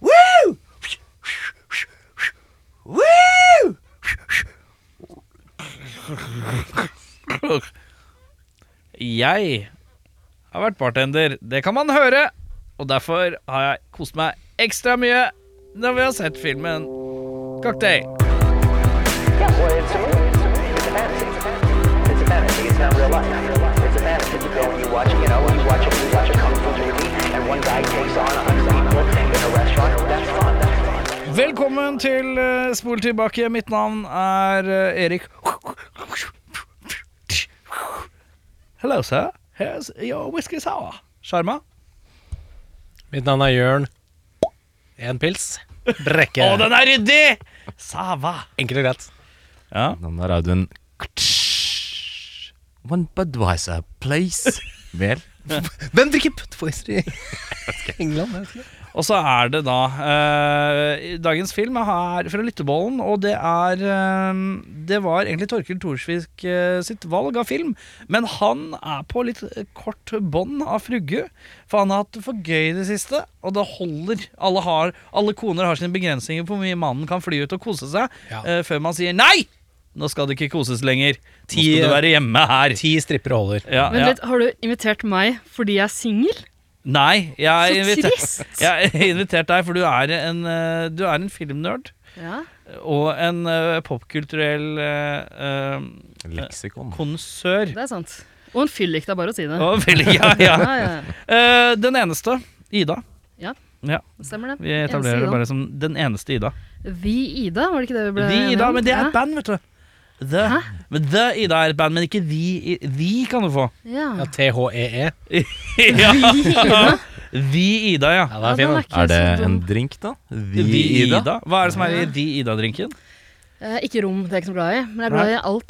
Woo! Woo! Jeg har vært bartender, det kan man høre. Og derfor har jeg kost meg ekstra mye når vi har sett filmen Cocktail. Yeah, well, it's a movie. It's a movie. It's a fantasy. It's a fantasy. It's not real life. It's a fantasy. You go and you watch, you know, you watch a, you watch a kung fu movie, and one guy takes on a hundred people in a restaurant. That's fun. That's fun. Velkommen til eh, Spol tilbake. Mitt navn er eh, Erik. Hello, sir. Here's your whisky sour. Sjarma? Mitt navn er Jørn. Én pils. Brekke. Å, den er ryddig! Sava. Enkelt og greit. Navnet er Audun One Budwiser, please. Vel? Hvem drikker Budweiser i England? Jeg vet ikke. Og så er det da eh, Dagens film er fra Lyttebollen, og det er eh, Det var egentlig Torkild Thorsvik eh, sitt valg av film, men han er på litt eh, kort bånd av frugge, for han har hatt det for gøy i det siste, og det holder. Alle, har, alle koner har sine begrensninger på hvor mye mannen kan fly ut og kose seg, Ja. eh, før man sier nei! Nå skal det ikke koses lenger. Nå skal du være hjemme her. Ti strippere holder. Ja, Men ja. litt, har du invitert meg fordi jeg er singel? Nei, jeg har Så invitert- trist. jeg har invitert deg, for du er en, eh, du er en filmnerd. Ja. og en eh, popkulturell eh, eh, Leksikon. konsør. Det er sant. Og en fyllik, det er bare å si det. Å, veldig, ja, ja. Ja, ja, ja. Eh, den eneste. Ida. Det Stemmer det. Vi Eneste etablerer Ida. det bare som den eneste Ida. Vi Ida, var det ikke det vi ble Vi enige Ida, om? men det er Ja. et band, vet du. The, Hæ? men the Ida er et band, men ikke vi. I- Vi kan du få. Ja. E. Ja, THEE. ja. Vi Ida. Vi Ida, ja. Ja, det er fin, den. Ja, den er ikke Er det så en dum. drink, da? Vi, Vi Ida? Ida. Hva er det som er i de Ida-drinken? Eh, ikke rom, det er jeg ikke så glad i, men jeg er glad i alt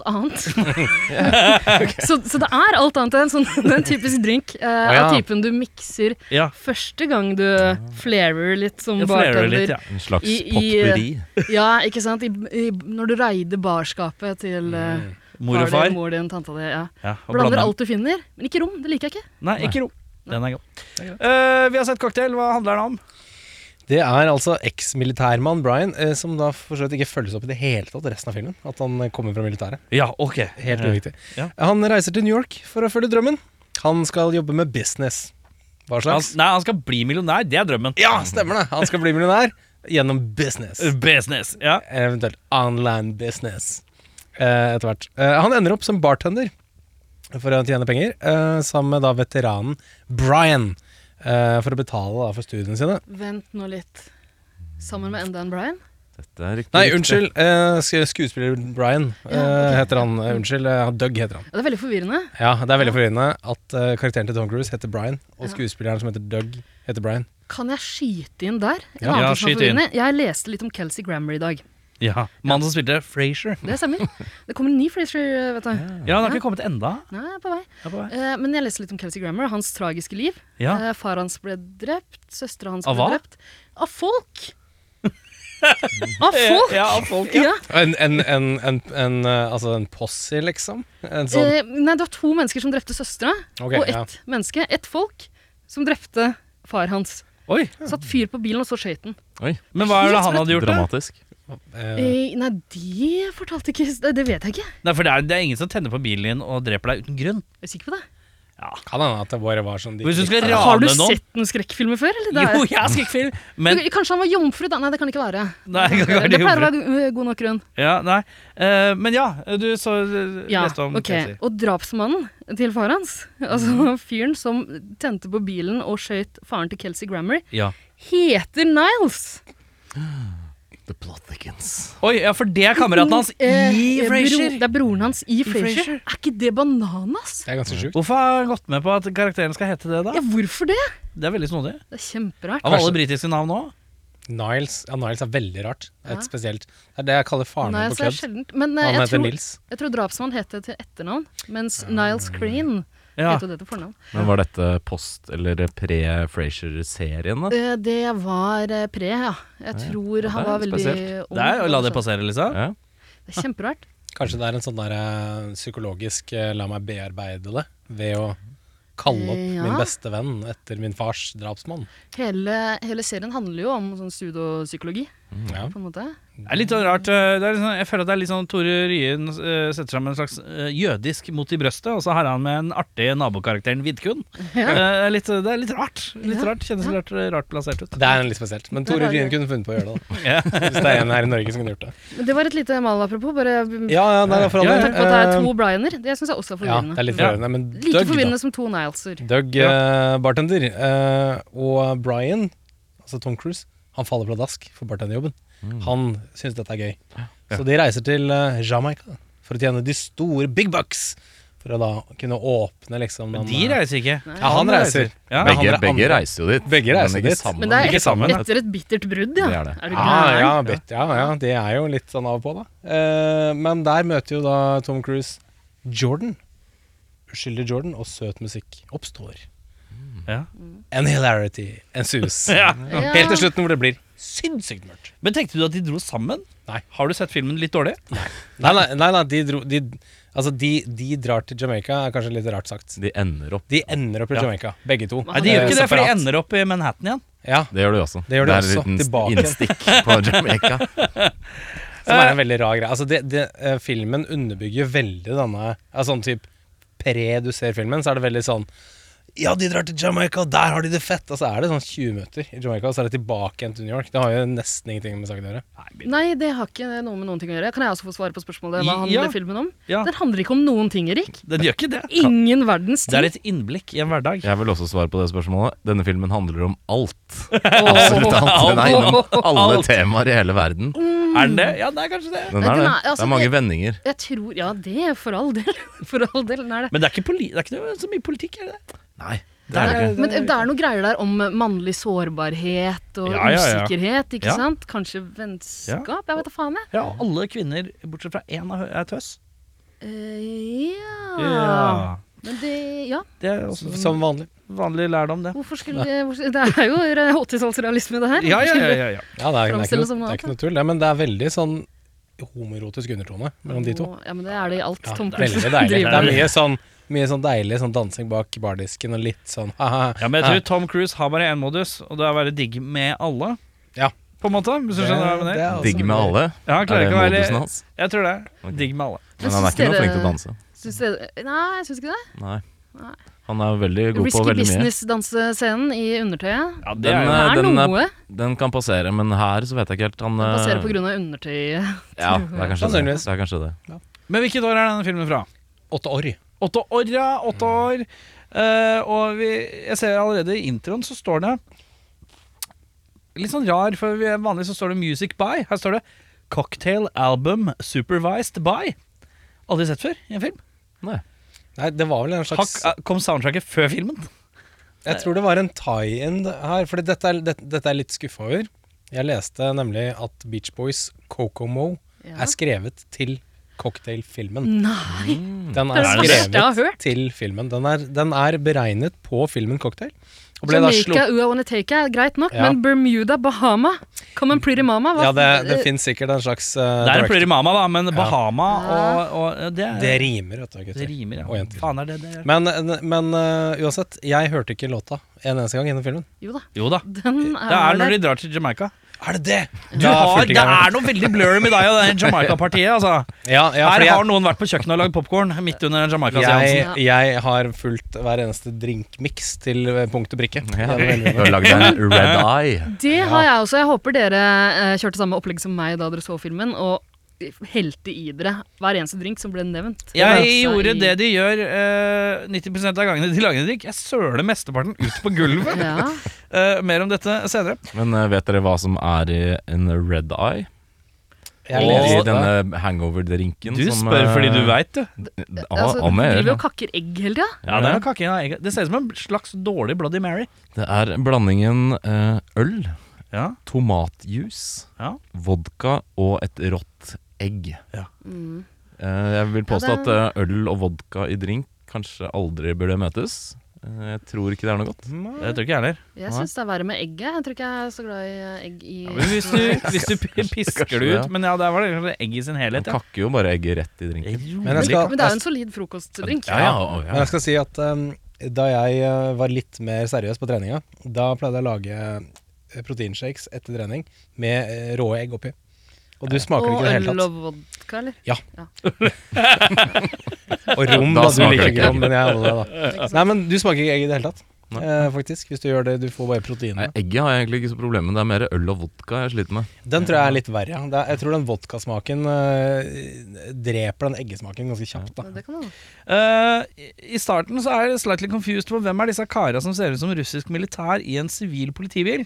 annet. så, så det er alt annet enn sånn, det er en typisk drink eh, ja. av typen du mikser Ja. første gang du flarer litt som Jeg flerer bartender. litt, ja. En slags I- i- potpurri. Ja, ikke sant? I, i, når du reide barskapet til eh, Mm. Mor og far far. din, mor din, tanta di. Ja. Ja, og blander. Blander alt du finner, men ikke rom. Det liker jeg ikke. Nei, ikke rom. Den er god. Eh, vi har sett cocktail. Hva handler den om? Det er altså eksmilitærmann Brian, eh, som da for så vidt ikke følges opp i det hele tatt resten av filmen. At han eh, kommer fra militæret. Ja, ok. Helt uviktig. Ja. Han reiser til New York for å følge drømmen. Han skal jobbe med business. Hva Han, slags? nei, han skal bli millionær. Det er drømmen. Ja, stemmer det! Han skal bli millionær gjennom business. Eh, Business. Ja. Eventuelt online business eh, etter hvert. Eh, han ender opp som bartender for å tjene penger, eh, sammen med da veteranen Brian. eh, for å betale da for studiene sine. Vent nå litt. Sammen med enda en Brian? Dette er riktig. Nei, riktig. unnskyld. eh, sk- skuespiller Brian eh, Ja, ok. heter han. Eh, Unnskyld. eh, Doug heter han. Ja, det er veldig forvirrende. Ja, Det er veldig forvirrende at eh, karakteren til Tom Cruise heter Brian, og skuespilleren som heter Doug, heter Brian. Kan jeg skyte inn der? En Ja. annen Ja, ting som er skyt inn. forvirrende. Jeg leste litt om Kelsey Grammer i dag. Ja, Mm. Mannen som spilte Frasier. Det stemmer. Det kommer en ny Frazier, vet du. Ja, han har ikke kommet enda. Nei, jeg er på vei. Ja, på vei. Eh, men jeg leste litt om Kelsey Grammer og hans tragiske liv. Ja. Eh, far hans ble drept, søstera hans Av ble hva? drept. Av folk! Av folk! Ja, av folk, ja. En, en, en, en, en, eh, altså en posse, liksom? En sånn Eh, nei, det var to mennesker som drepte søstera, Ok, og ett ja. menneske, ett folk, som drepte far hans. Oi, Satt fyr på bilen og så skøyt den. Oi, Men hva er det han hadde gjort? da? dramatisk. eh, Eh, nei, det fortalte ikke det, det vet jeg ikke. Nei, for det er, det er ingen som tenner på bilen din og dreper deg uten grunn. Jeg er sikker på det. Kan hende at det bare var sånn de Hvis du skal likte det. Har du rane noen sett noen skrekkfilmer før? Eller? Det er- Jo, jeg er skrekkfilm, men Ok, Kanskje han var jomfru, da? Nei, det kan det ikke være. Nei, det det, kan det ikke pleier å være. være eh, god nok grunn. Ja, nei. Eh, men ja, du så eh, Ja, leste om ok. Kelsey. Og drapsmannen til far hans, Mm. altså fyren som tente på bilen og skjøt faren til Kelsey Grammer, Ja. heter Niles. The plot thickens. Oi, ja, for det er kameraten hans E. i Eh, bro- Frasier. Det er broren hans i Frasier. Frasier. Er ikke det bananas? Det er ganske sjukt. Hvorfor har han gått med på at karakteren skal hete det, da? Ja, hvorfor det? Det er veldig snodig. Det er kjemperart. Av alle britiske navn òg. Niles ja, Niles er veldig rart. Det er Et Ja. spesielt. Det er det jeg kaller faren Nei, min på så er det kødd. sjeldent. Men eh, Han jeg heter tror, Nils. jeg tror drapsmann het det til etternavn, mens Niles Green Ja. het jo det til fornavn. Men var dette post- eller pre-Frasier-serien, da? Eh, Det var eh, pre, ja. Jeg tror han det er var veldig spesielt. ung. Der, la det kanskje. passere, liksom. Lisa. Ja. Det er kjemperart. Kanskje det er en sånn der eh, psykologisk eh, la meg bearbeide det ved å kalle opp Eh, ja. min beste venn etter min fars drapsmann. Hele, hele serien handler jo om sånn pseudopsykologi, Ja. på en måte. Det er litt sånn rart. eh, Det er litt sånn, jeg føler at det er litt sånn Tore Ryen eh, setter seg med en slags eh, jødisk mot i brøstet, og så har han med den artige nabokarakteren Vidkun. Eh, litt, det er litt rart. Litt Ja. rart. Kjennes litt rart, eh, rart plassert ut. Det er litt spesielt. Men Det er Tore rare. Ryen kunne funnet på å gjøre det. Ja. da Hvis det er en her i Norge som kunne gjort det. Men det var et lite mal apropos. Bare Ja, ja, nei, det er for all Ja, ja. del. tenk på at det er Eh, to Brianer. Det syns jeg også er Ja, forvirrende. det er litt Ja. forvirrende. Men Like Doug, da. forvirrende som to Nileser. Doug, eh, bartender, eh, og Brian, altså Tom Cruise, han faller pladask for bartenderjobben. Han syns dette er gøy. Så de reiser til eh, Jamaica for å tjene de store big bucks. For å da kunne åpne liksom Men den, de eh, reiser ikke. Ja, han reiser. Ja. Men han Begge, er begge andre. reiser jo dit. Begge reiser men ikke dit. Sammen. Men det er Ikke sammen. et, etter et bittert brudd, ja. Det er det. Ja, du gæren? Ah, ja, vet, ja, ja, det er jo litt sånn av og på, da. Eh, men der møter jo da Tom Cruise Jordan. Uskyldig Jordan, og søt musikk oppstår. Ja. En hilarity ensues. Ja. Helt til slutten hvor det blir sinnssykt mørkt. Men tenkte du at de dro sammen? Nei. Har du sett filmen litt dårlig? Nei, nei, nei, nei de, dro, de, altså de, de drar til Jamaica, er kanskje litt rart sagt. De ender opp. De ender opp i Ja. Jamaica, begge to. Nei, de gjør Eh, ikke det, for de separat. ender opp i Manhattan igjen. Ja, Det gjør de også. Det gjør de er også. et liten Tilbake. Innstikk på Jamaica. som Eh. er en veldig rar greie. Altså, det- det, eh, filmen underbygger veldig denne ja, Sånn type pre du ser filmen, så er det veldig sånn Ja, de drar til Jamaica, og der har de det fett! Og så er det sånn 20 minutter i Jamaica, og så er det tilbake igjen til New York. Det har jo nesten ingenting med saken å gjøre. Nei, det har ikke noe med noen ting å gjøre. Kan jeg også få svare på spørsmålet hva handler Ja. filmen om? Ja. Den handler ikke om noen ting, Erik. Den gjør ikke det. Ingen verdens Det ting. er et innblikk i en hverdag. Jeg vil også svare på det spørsmålet. Denne filmen handler om alt. Åh. Absolutt alt. Den er innom alle Alt. temaer i hele verden. Mm. Er den det? Ja, det er kanskje det. Den Den er det. er- altså, Det er mange det- vendinger. Jeg tror Ja, det, for all del. For all del, den er det. Men det er ikke, poli det er ikke noe, så mye politikk, er det det? Nei. det er det ikke. Men det er noen greier der om mannlig sårbarhet og Ja, ja, ja. usikkerhet, ikke Ja. sant? Kanskje vennskap? Jeg vet da faen, jeg. Ja, alle kvinner, bortsett fra én, er er tøss. Eh, ja. Ja. Men det Ja. Det er også en Som vanlig. vanlig lærdom, det. Hvorfor skulle hvor, Det er jo 80-tallsrealisme, det her. Ja, ja, ja, ja, ja. Ja, det er, det er, ikke, Fremstilles som noe, det er ikke noe noe tull, det, men det er veldig sånn homoerotisk undertone mellom de to. Ja, men det er det i alt Ja, Tom veldig Cruise deilig. Det driver er med. mye sånn, mye sånn deilig sånn dansing bak bardisken og litt sånn haha. Ja, men jeg tror Tom Cruise har bare én modus, og det er å være digg med alle. Ja. På en måte, hvis du skjønner hva jeg mener. er også Digg med alle. Ja, han klarer Er ikke det å modusen være hans? Jeg tror det. Ok. Digg med alle. Men Men han er syns ikke noe dere- flink til å danse. Syns dere Nei, jeg syns ikke det. Nei. Nei. Han er veldig god på Risky veldig mye. business-dansescenen i undertøyet. Ja, Den, det er jo Det eh, er den, eh, noe. Den kan passere, men her så vet jeg ikke helt. Han Den passerer eh, på grunn av undertøyet. Ja, det er kanskje det. Sannsynligvis. det, er kanskje det. Men hvilket år er denne filmen fra? Åtte år. Åtte år, ja. Åtte Mm. år. Eh, og vi, jeg ser allerede i introen så står det Litt sånn rar, for vi, vanligvis så står det 'Music by'. Her står det 'Cocktail Album Supervised by'. Aldri sett før i en film. Nei. Nei, det var vel en slags ah, Hakk- eh, kom soundtracket før filmen? Jeg tror det var en tie-in her, for dette er, det, dette er jeg litt skuffa over. Jeg leste nemlig at Beach Boys Kokomo Ja. er skrevet til cocktailfilmen. Nei! Den Mm. Det er er det verste jeg har skrevet hørt. til filmen. Den er, den er beregnet på filmen Cocktail. Og ble da Jamaica, sluppet Ua Wanna Take er greit nok, Ja. men Bermuda, Bahama, Come and Pretty Mama hva- Ja, det, det fins sikkert en slags uh, Det er en direct- Pretty Mama, da, men Bahama og, og eh, det, er- Det rimer, vet du. gutter. det rimer, Og ja. jenter. Faen er det det gjør. Men, men øh, uansett, jeg hørte ikke låta en eneste gang gjennom filmen. Jo da. Jo da. Den er, Det er når der. de drar til Jamaica. Er det det?! Du har, det er noe veldig blurry med deg og det Jamaica-partiet. Altså. ja, ja, Her fordi har noen vært på kjøkkenet og lagd popkorn midt under en Jamaica-seansen. jeg, jeg, jeg har fulgt hver eneste drinkmiks til øh, punkt og prikke. Gjennom Ja. hele Du filmen. har lagd en red eye. Det har jeg også. Jeg håper dere eh, kjørte samme opplegg som meg da dere så filmen, og helte i dere hver eneste drink som ble nevnt. Jeg gjorde det de gjør eh, 90 av gangene de lager en drikk. Jeg søler mesteparten ut på gulvet. Ja. Eh, mer om dette senere. Men eh, vet dere hva som er i en red eye? Jeg og i leste det. denne hangover-drinken Du som, spør eh, fordi du veit, du. Ja, Altså, om du jeg gjør driver jo det. og kakker egg hele tida. Ja, det, det, er noe kaking av egg. det ser ut som en slags dårlig Bloody Mary. er. det er blandingen eh, øl, Ja. tomatjuice, Ja. vodka og et rått egg. Ja. Mm. Eh, Jeg vil påstå Ja, at det- eh, øl og vodka i drink kanskje aldri burde møtes. Eh, Jeg tror ikke det er noe godt. Jeg tror ikke jeg heller. Jeg syns det er verre med egget. Jeg tror ikke jeg er så glad i eh, egg i Men Hvis du, hvis du p- pisker det ut Men ja, der var det kanskje egg i sin Man helhet. Ja. kakker jo bare egget rett i drinken. Men jeg skal, Men det er jo en solid frokostdrink. Ja, ja, å, Men ja. jeg skal si at um, da jeg uh, var litt mer seriøs på treninga, da pleide jeg å lage uh, proteinshakes etter trening med uh, rå egg oppi. Og du smaker det Og ikke i det hele øl tatt. og vodka, eller? Og rom, Da da. Du smaker liker det ikke ikke. rom, men jeg holder det, da. Ikke sant? Nei, men du smaker ikke egg i det hele tatt, eh, faktisk. Hvis du gjør det, du får bare Nei, proteinene. egget har jeg egentlig ikke så problem med. Det er mer øl og vodka jeg sliter med. Den tror jeg er litt verre. ja. Det er- Jeg tror den vodkasmaken eh, dreper den eggesmaken ganske kjapt, da. Ja, Det kan man. Eh, I starten så er jeg slightly confused på hvem er disse kara som ser ut som russisk militær i en sivil politibil.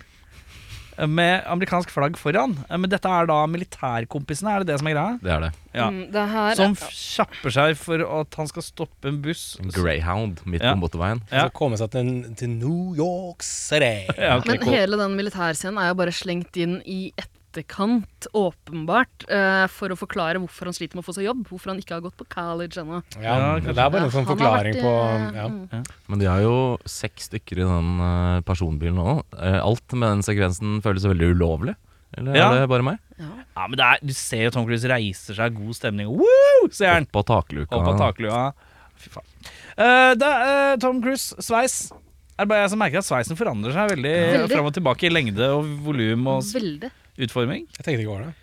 eh, Med amerikansk flagg foran. Eh, Men dette er da militærkompisene, er det det som er greia? Det er det. Ja. Mm, Det her Som f- kjapper seg for at han skal stoppe en buss. En Greyhound midt Ja. på motorveien. Ja. Så komme seg til, til New York City. Ja, ok, Men cool. hele den militærscenen er jo bare slengt inn i etterkant, åpenbart, eh, for å forklare hvorfor han sliter med å få seg jobb. Hvorfor han ikke har gått på college ennå. Ja, Ja, det er bare en Ja, sånn han har vært forklaring i- på ja. mm. Men de har jo seks stykker i den eh, personbilen nå. Eh, Alt med den sekvensen føles veldig ulovlig. Eller Ja. er det bare meg? Ja, men det er, Du ser jo Tom Cruise reiser seg, god stemning. Woo! Sier han. På takluka. Opp av taklua. Fy faen. Eh, det er, eh, Tom Cruise, sveis. Er det bare jeg som merker at sveisen forandrer seg veldig, Veldig. fram og tilbake i lengde og volum og s- Veldig. utforming? Jeg tenkte ikke over det.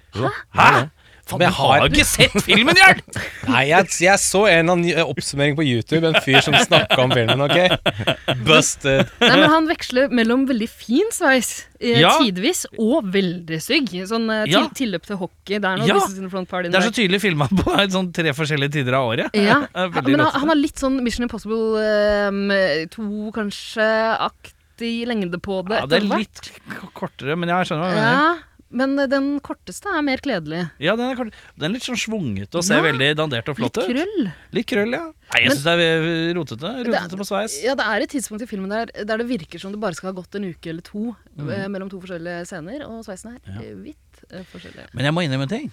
Hæ?! Faen, Men du jeg har- har jo ikke sett filmen, Jørn! Nei, jeg, jeg så en eller annen eh, oppsummering på YouTube, en fyr som snakka om filmen, ok? Busted. Nei, men Han veksler mellom veldig fin sveis eh, Ja. tidvis og veldig stygg. Sånn eh, til, Ja. tilløp til hockey. Det er noe Ja. business in the front party. Det er så tydelig filma på en sånn tre forskjellige tider av året. ja. er veldig Men han, rødt. han har litt sånn Mission Impossible eh, to, kanskje-aktig lengde på det. Ja, det er etter hvert. litt k- kortere, men jeg skjønner hva du mener. Ja, men eh, den korteste er mer kledelig. Ja, den er, kort, den er litt sånn svungete og ser Ja. veldig dandert og flott Litt ut. krøll. Litt krøll, ja. Nei, jeg syns det er eh, rotete. Rotete på sveis. Ja, det er et tidspunkt i filmen der, der det virker som det bare skal ha gått en uke eller to Mm. eh, mellom to forskjellige scener, og sveisen er eh, vidt eh, forskjellig. Men jeg må innrømme en ting.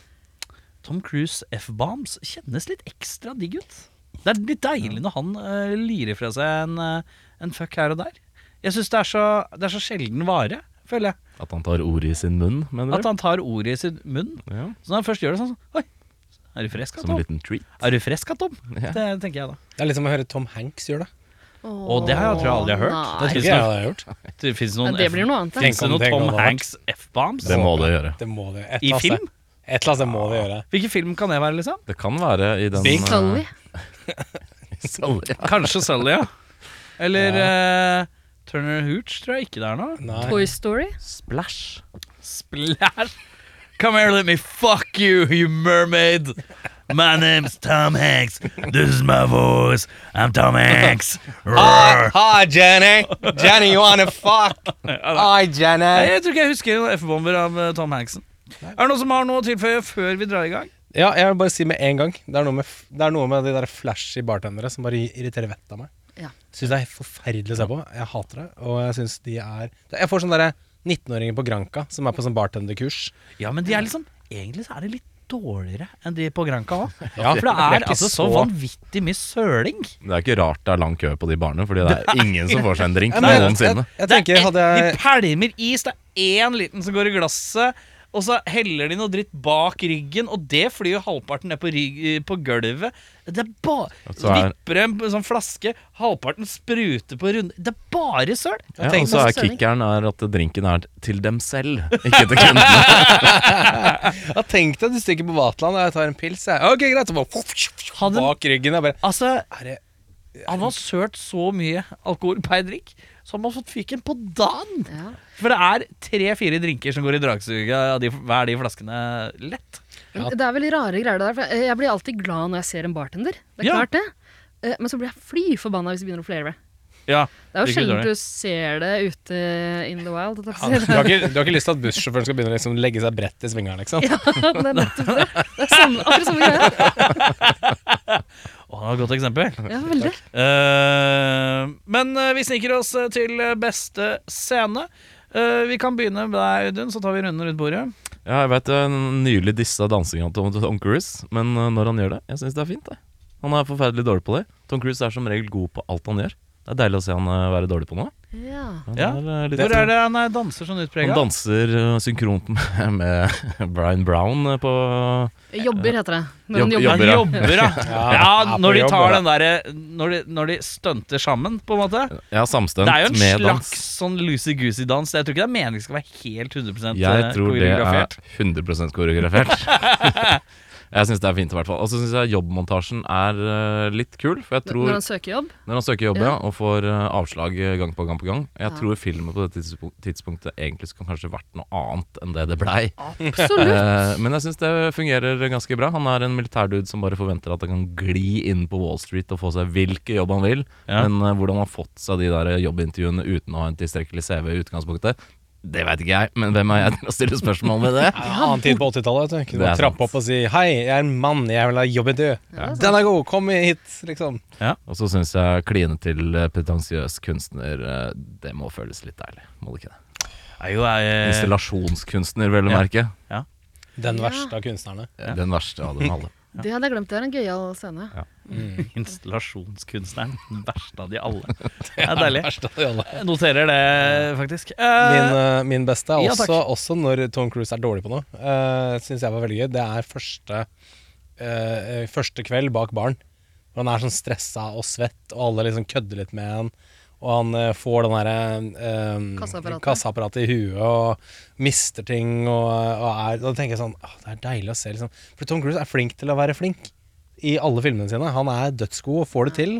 Tom Cruise F-bombs kjennes litt ekstra digg ut. Det er litt deilig når han eh, lirer fra seg en, eh, en fuck her og der. Jeg syns det, er så- det er så sjelden vare, føler jeg. At han tar ordet i sin munn, mener At du? han tar ordet i sin munn. Ja. Så når han først gjør det sånn sånn, Oi, er du frisk, da, Som en Tom? liten treat. Er du frisk, da, Tom? Ja. Det tenker jeg da. Det er litt som å høre Tom Hanks gjøre det. Og det har jeg tror jeg aldri hørt. Nei. Det tror ikke jeg hadde gjort. Det fins Nei, noen, det blir F- noe annet. da. Tenk finnes det om noen det Tom hadde vært. Hanks F-bombs Det må det gjøre. Det må det Et i eller annet sted. film? Et eller annet sted må det gjøre. Hvilken film kan det være, liksom? Det kan være i den Big eh, Sully. Sully, ja. Kanskje Sully, ja. Eller eh, Turner Hooch tror jeg ikke det er noe. Nei. Toy Story. Splash. Splash. Come here, let me fuck you, you mermaid. My name's Tom Hanks. This is my voice. I'm Tom Hanks. Hi, hi, Jenny. Jenny, you wanna fuck? Hi, Jenny. Jeg tror ikke jeg husker noen F-bomber av eh, Tom Hanksen. Er det noen som har noe å tilføye før vi drar i gang? Ja, jeg vil bare si med en gang. Det er noe med, f- det er noe med de der flashy bartendere som bare irriterer vettet av meg. Ja. Syns det er helt forferdelig å se på. Jeg hater det. Og jeg syns de er Jeg får sånne derre 19-åringer på Granka som er på sånn bartenderkurs. Ja, men de er liksom Egentlig så er det litt dårligere enn de på Granca òg. Ja, For det de er ikke altså så så- vanvittig mye søling. Det er ikke rart det er lang kø på de barene, fordi det er ingen som får seg en drink Jeg, mener, noensinne. jeg, jeg tenker hadde De jeg pælmer is, det er én liten som går i glasset, og så heller de noe dritt bak ryggen, og det flyr jo halvparten ned på, rygg, på gulvet. Det er bare så er- Vipper en sånn flaske, halvparten spruter på runde Det er bare søl! Ja, tenker og så er masse søling. kickeren er at drinken er til dem selv, ikke til kundene. Jeg tenkte at du stikker på Vatland og jeg tar en pils. Jeg. Ok, greit. Så bare Hadde- bak ryggen. Jeg bare Altså, er det, han har sølt så mye alkohol per drink, så han har fått fyken på dagen! Ja. For det er tre-fire drinker som går i dragsuget av de, hver de flaskene lett. Men Det er veldig rare greier det der. For jeg- jeg blir alltid glad når jeg ser en bartender. Det er Ja. klart det. Eh, Men så blir jeg fly forbanna hvis de begynner å flere. Ja, Det er jo Ikke sjelden dårlig. du ser det ute in the wild. holdt du, jeg på å si. har ikke, du har ikke lyst til at bussjåføren skal begynne å liksom legge seg bredt i svingeren, liksom? Ja, det er nettopp det. Det er samme, akkurat samme greia. Å, det var et godt eksempel. Ja, veldig. Eh, men eh, vi sniker oss eh, til eh, beste scene. Eh, vi kan begynne med deg, Audun, så tar vi runden rundt bordet. Ja, jeg vet jeg nylig dissa dansinga til Tom Cruise, men eh, når han gjør det, jeg syns det er fint. Jeg. Han er forferdelig dårlig på det. Tom Cruise er som regel god på alt han gjør. Det er deilig å se han eh, være dårlig på noe. Ja. Han Ja. er, eh, litt- Hvor er det han er danser sånn Han utprega? danser eh, synkront med, med Brian Brown eh, på Jobber, heter det. Når Jobb- han Han jobber. ja. jobber, ja. Ja, ja er på når de jobb, tar ja. den derre Når, de- når de stunter sammen, på en måte. Ja, samstemt Det er jo en med slags dans. sånn loosey-goosey-dans. Jeg tror ikke det er meningen det skal være helt 100 Jeg tror det er eh, koreografert. 100 koreografert. jeg syns det er fint, i hvert fall. Og så syns jeg jobbmontasjen er eh, litt kul. For Når- jeg tror Når han søker jobb. Når han søker jobb ja. og får eh, avslag eh, gang på gang på gang. Jeg Ja. tror filmen på det tidspunk- tidspunktet egentlig skulle kanskje vært noe annet enn det det blei. Absolutt. Eh, men jeg syns det fungerer ganske bra. Han er en militærdude som bare forventer at han kan gli inn på Wall Street og få seg hvilken jobb han vil. Ja. Men eh, hvordan han har fått seg de der jobbintervjuene uten å ha en tilstrekkelig CV i utgangspunktet, det veit ikke jeg, men hvem er jeg til å stille spørsmål ved det? Annen tid på 80-tallet. vet du. Kunne Det er bare trappe sant. opp og si 'Hei, jeg er en mann, jeg vil ha jobbintervju'. Den er god, kom hit, liksom. Og så syns jeg kline til eh, pretensiøs kunstner, eh, det må føles litt deilig, må det ikke det? Er jo, eh, Installasjonskunstner, vel å Ja. merke. Den Ja. verste av kunstnerne. Den verste av dem alle. Det hadde jeg glemt. Det er en gøyal scene. installasjonskunstneren. Den verste av de alle. Det er Den deilig. verste av de alle. Jeg noterer det, faktisk. Eh, Min, eh, min beste er ja, også, takk. også når Tom Cruise er dårlig på noe. Uh, Syns jeg var veldig gøy. Det er første, eh, første kveld bak baren. Og han er sånn stressa og svett, og alle liksom kødder litt med han. Og han eh, får den derre Kassaapparatet. kassaapparatet i huet og mister ting og, og er Da tenker jeg sånn «Åh, Det er deilig å se, liksom. For Tom Cruise er flink til å være flink i alle filmene sine. Han er dødsgod og får det til.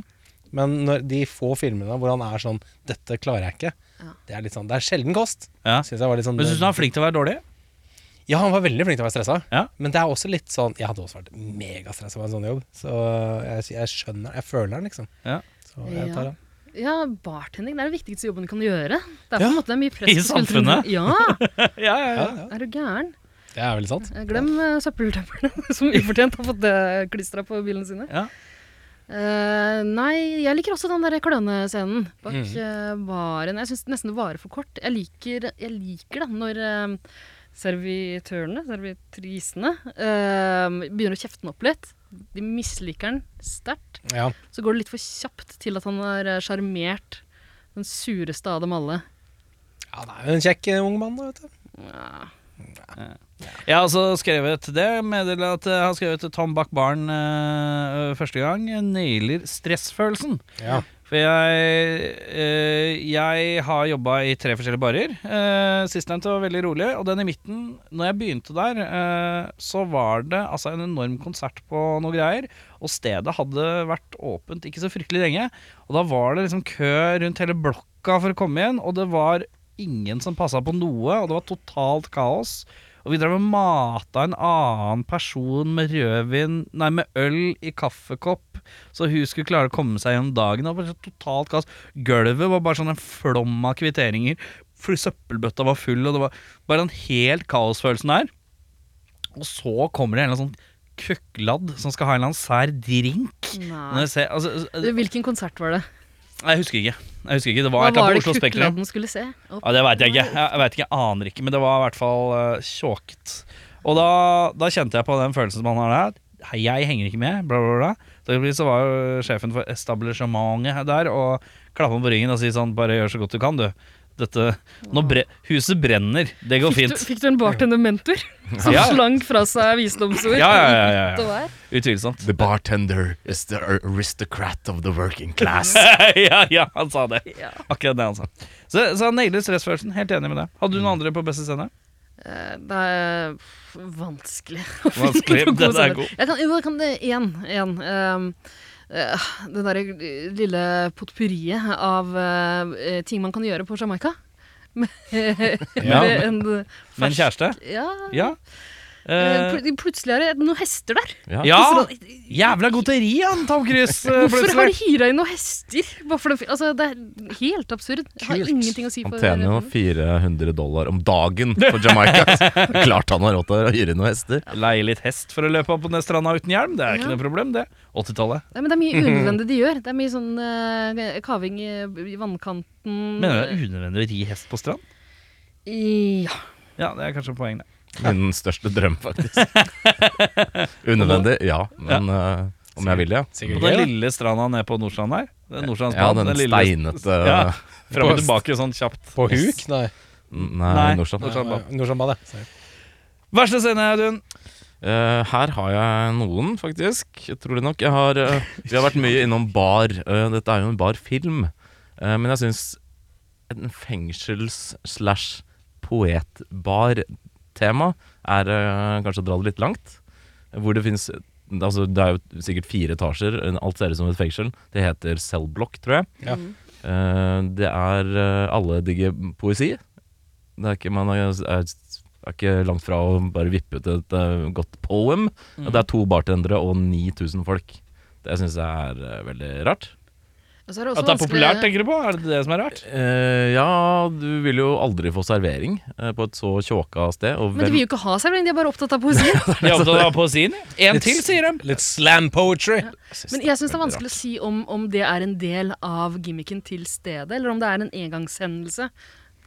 Men når de få filmene hvor han er sånn 'Dette klarer jeg ikke', Ja. det er litt sånn Det er sjelden kost. Ja. Synes jeg var litt sånn men syns du han er flink til å være dårlig? Ja, han var veldig flink til å være stressa. Ja. Men det er også litt sånn Jeg hadde også vært megastressa på en sånn jobb. Så jeg, jeg skjønner Jeg føler den, liksom. Ja. Så jeg tar den. Ja, bartending det er den viktigste jobben du kan gjøre. Det er på Ja. en måte mye press I på samfunnet. skuldrene. Ja, Ja, Ja, ja. er du gæren? Det er veldig sant. Eh, Glem uh, søppeltømmerne som ufortjent har fått det klistra på bilene sine. Ja. Eh, nei, jeg liker også den der klønescenen bak eh, baren. Jeg syns nesten det varer for kort. Jeg liker, jeg liker da når eh, servitørene, servitrisene, eh, begynner å kjefte den opp litt. De misliker den sterkt. Ja. Så går det litt for kjapt til at han er eh, sjarmert. Den sureste av dem alle. ja, det er jo en kjekk eh, ung mann, da, vet du. Jeg har altså skrevet det. Meddeler at eh, jeg har skrevet Tom Bach Barn eh, første gang. Nailer stressfølelsen. Ja. For jeg, eh, jeg har jobba i tre forskjellige barer. Eh, Sistnevnte var veldig rolig. Og den i midten, når jeg begynte der, eh, så var det altså en enorm konsert på noe greier. Og stedet hadde vært åpent ikke så fryktelig lenge. Og da var det liksom kø rundt hele blokka for å komme inn, og det var ingen som passa på noe, og det var totalt kaos. Og vi drev og mata en annen person med rødvin, nei, med øl i kaffekopp, så hun skulle klare å komme seg gjennom dagen. Det var bare totalt kaos. Gulvet var bare sånn en flom av kvitteringer, fordi søppelbøtta var full, og det var bare den helt kaosfølelsen der. Og så kommer det en eller annen sånn køkkladd som skal ha en eller annen sær drink. Når Nei. jeg ser, altså, Du, Hvilken konsert var det? Nei, jeg husker ikke. Jeg husker ikke, Det var Hva et eller var annet det på Oslo Spektrum. kukladden skulle se? Opp. Ja, det veit jeg ikke. Jeg, jeg vet ikke, jeg aner ikke, men det var i hvert fall eh, tjåket. Og da, da kjente jeg på den følelsen som han har der. Hei, Jeg henger ikke med, bla, bla, bla. Så plutselig så var jo sjefen for establishementet der og klappa meg på ryggen og sier sånn Bare gjør så godt du kan, du. Dette, nå bre Huset brenner. Det går Fikk du, fint. fikk du en bartender-mentor som Ja. slang fra seg visdomsord? Ja, ja, ja, ja, Det ja. var. Utvilsomt. The bartender is the aristocrat of the working class. ja, ja, han sa det. Ja. Akkurat det han sa. Så, så han nailer stressfølelsen. Helt enig med deg. Hadde Mm. du noen andre på beste scene? Eh, Det er f- vanskelig å finne Vanskelig, noen den er scener. god. Jeg kan, jo, jeg kan det én. én ehm, eh, det derre lille potpurriet av eh, ting man kan gjøre på Jamaica. Med, Ja, med en Med en fersk- kjæreste? Ja. Ja. Eh, Eh, pl- Plutselig er det noen hester der. ja! Så da- Jævla godteri, han Tom Cruise. eh, Hvorfor har plutselig. de hyra inn noen hester? Bare for det, altså, det er helt absurd. Jeg har ingenting å si Han for tjener jo 400 dollar om dagen på Jamaica. Klart han har råd til å hyre noen hester. Leie litt hest for å løpe opp på den stranda uten hjelm, det er ikke Ja. noe problem, det. 80-tallet. Nei, men Det er mye unødvendig de gjør. Det er mye sånn eh, kaving i, i vannkanten. Mm. Mener du det er unødvendig å ri hest på strand? Ja. Ja, det er kanskje et poeng, det. Min største drøm, faktisk. Unødvendig, ja. Men eh, om jeg vil, ja. På Sikkert den gøy, da. lille stranda nede på Nordstrand her. Den Ja, Nordstrandsbanen. den lille- steinete Ja. Fram På- og tilbake sånn kjapt. På huk? Nei. Eh, Nei, Norsan. Nordsjøbadet. Nordsjøbadet. Sorry. Verste scene, Audun? Eh, her har jeg noen, faktisk. Trolig nok. Jeg har, eh, vi har vært mye innom bar. Eh, dette er jo en barfilm. Eh, men jeg syns en fengsels-slash-poetbar-tema er eh, kanskje å dra det litt langt. Hvor det fins altså, Det er jo sikkert fire etasjer. Alt ser ut som et fengsel. Det heter cellblock, tror jeg. Ja. Eh, det er eh, Alle digger poesi. Det er ikke, man er, er, er ikke langt fra å bare vippe ut et eh, godt poem. Og Det er to bartendere og 9000 folk. Det syns jeg er eh, veldig rart. Og så er det også At det er vanskelig- populært, tenker du på? Er det det som er rart? Eh, ja, du vil jo aldri få servering eh, på et så tjåka sted. Og Men de vil jo ikke ha servering, de er bare opptatt av poesien. De er opptatt av poesien. En Litt- til, sier de. Litt slam poetry. Men jeg syns det er vanskelig å si om, om det er en del av gimmicken til stedet, eller om det er en engangshendelse.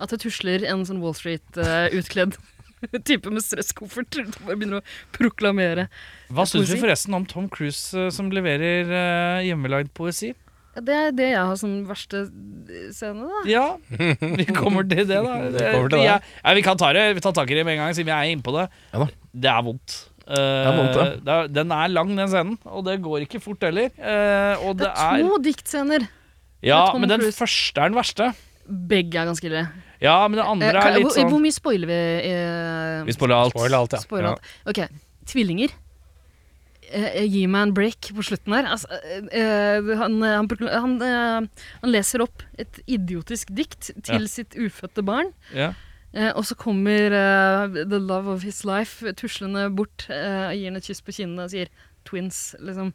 At det tusler en sånn Wall Street-utkledd type med stresskoffert rundt og bare begynner å proklamere. Hva syns du Poesi? forresten om Tom Cruise eh, som leverer eh, hjemmelagd poesi? Ja, Det er det jeg har som verste eh, scene, da. Ja, vi kommer til det, da. Vi kommer til det. Jeg- Nei, vi kan ta det Vi tar tak i det med en gang, siden vi er inne på det. Ja da. Det er vondt. Eh, er vondt, ja. det er- den er lang, den scenen, og det går ikke fort heller. Eh, og det Det er er to diktscener. med Ja, Tom men den Cruise. første er den verste. Begge er ganske ille. Ja, men den andre Eh, er kan- litt hvor, hvor sånn mye spoiler vi? eh, Vi spoiler alt. Spoil alt, ja. spoiler alt. Ok, tvillinger. Eh, Gi meg en break på slutten her. Altså, eh, eh, han, eh, han, prokla- han, eh, han leser opp et idiotisk dikt til sitt ufødte barn. Ja. Eh, og så kommer eh, the love of his life tuslende bort eh, og gir henne et kyss på kinnene og sier twins, liksom.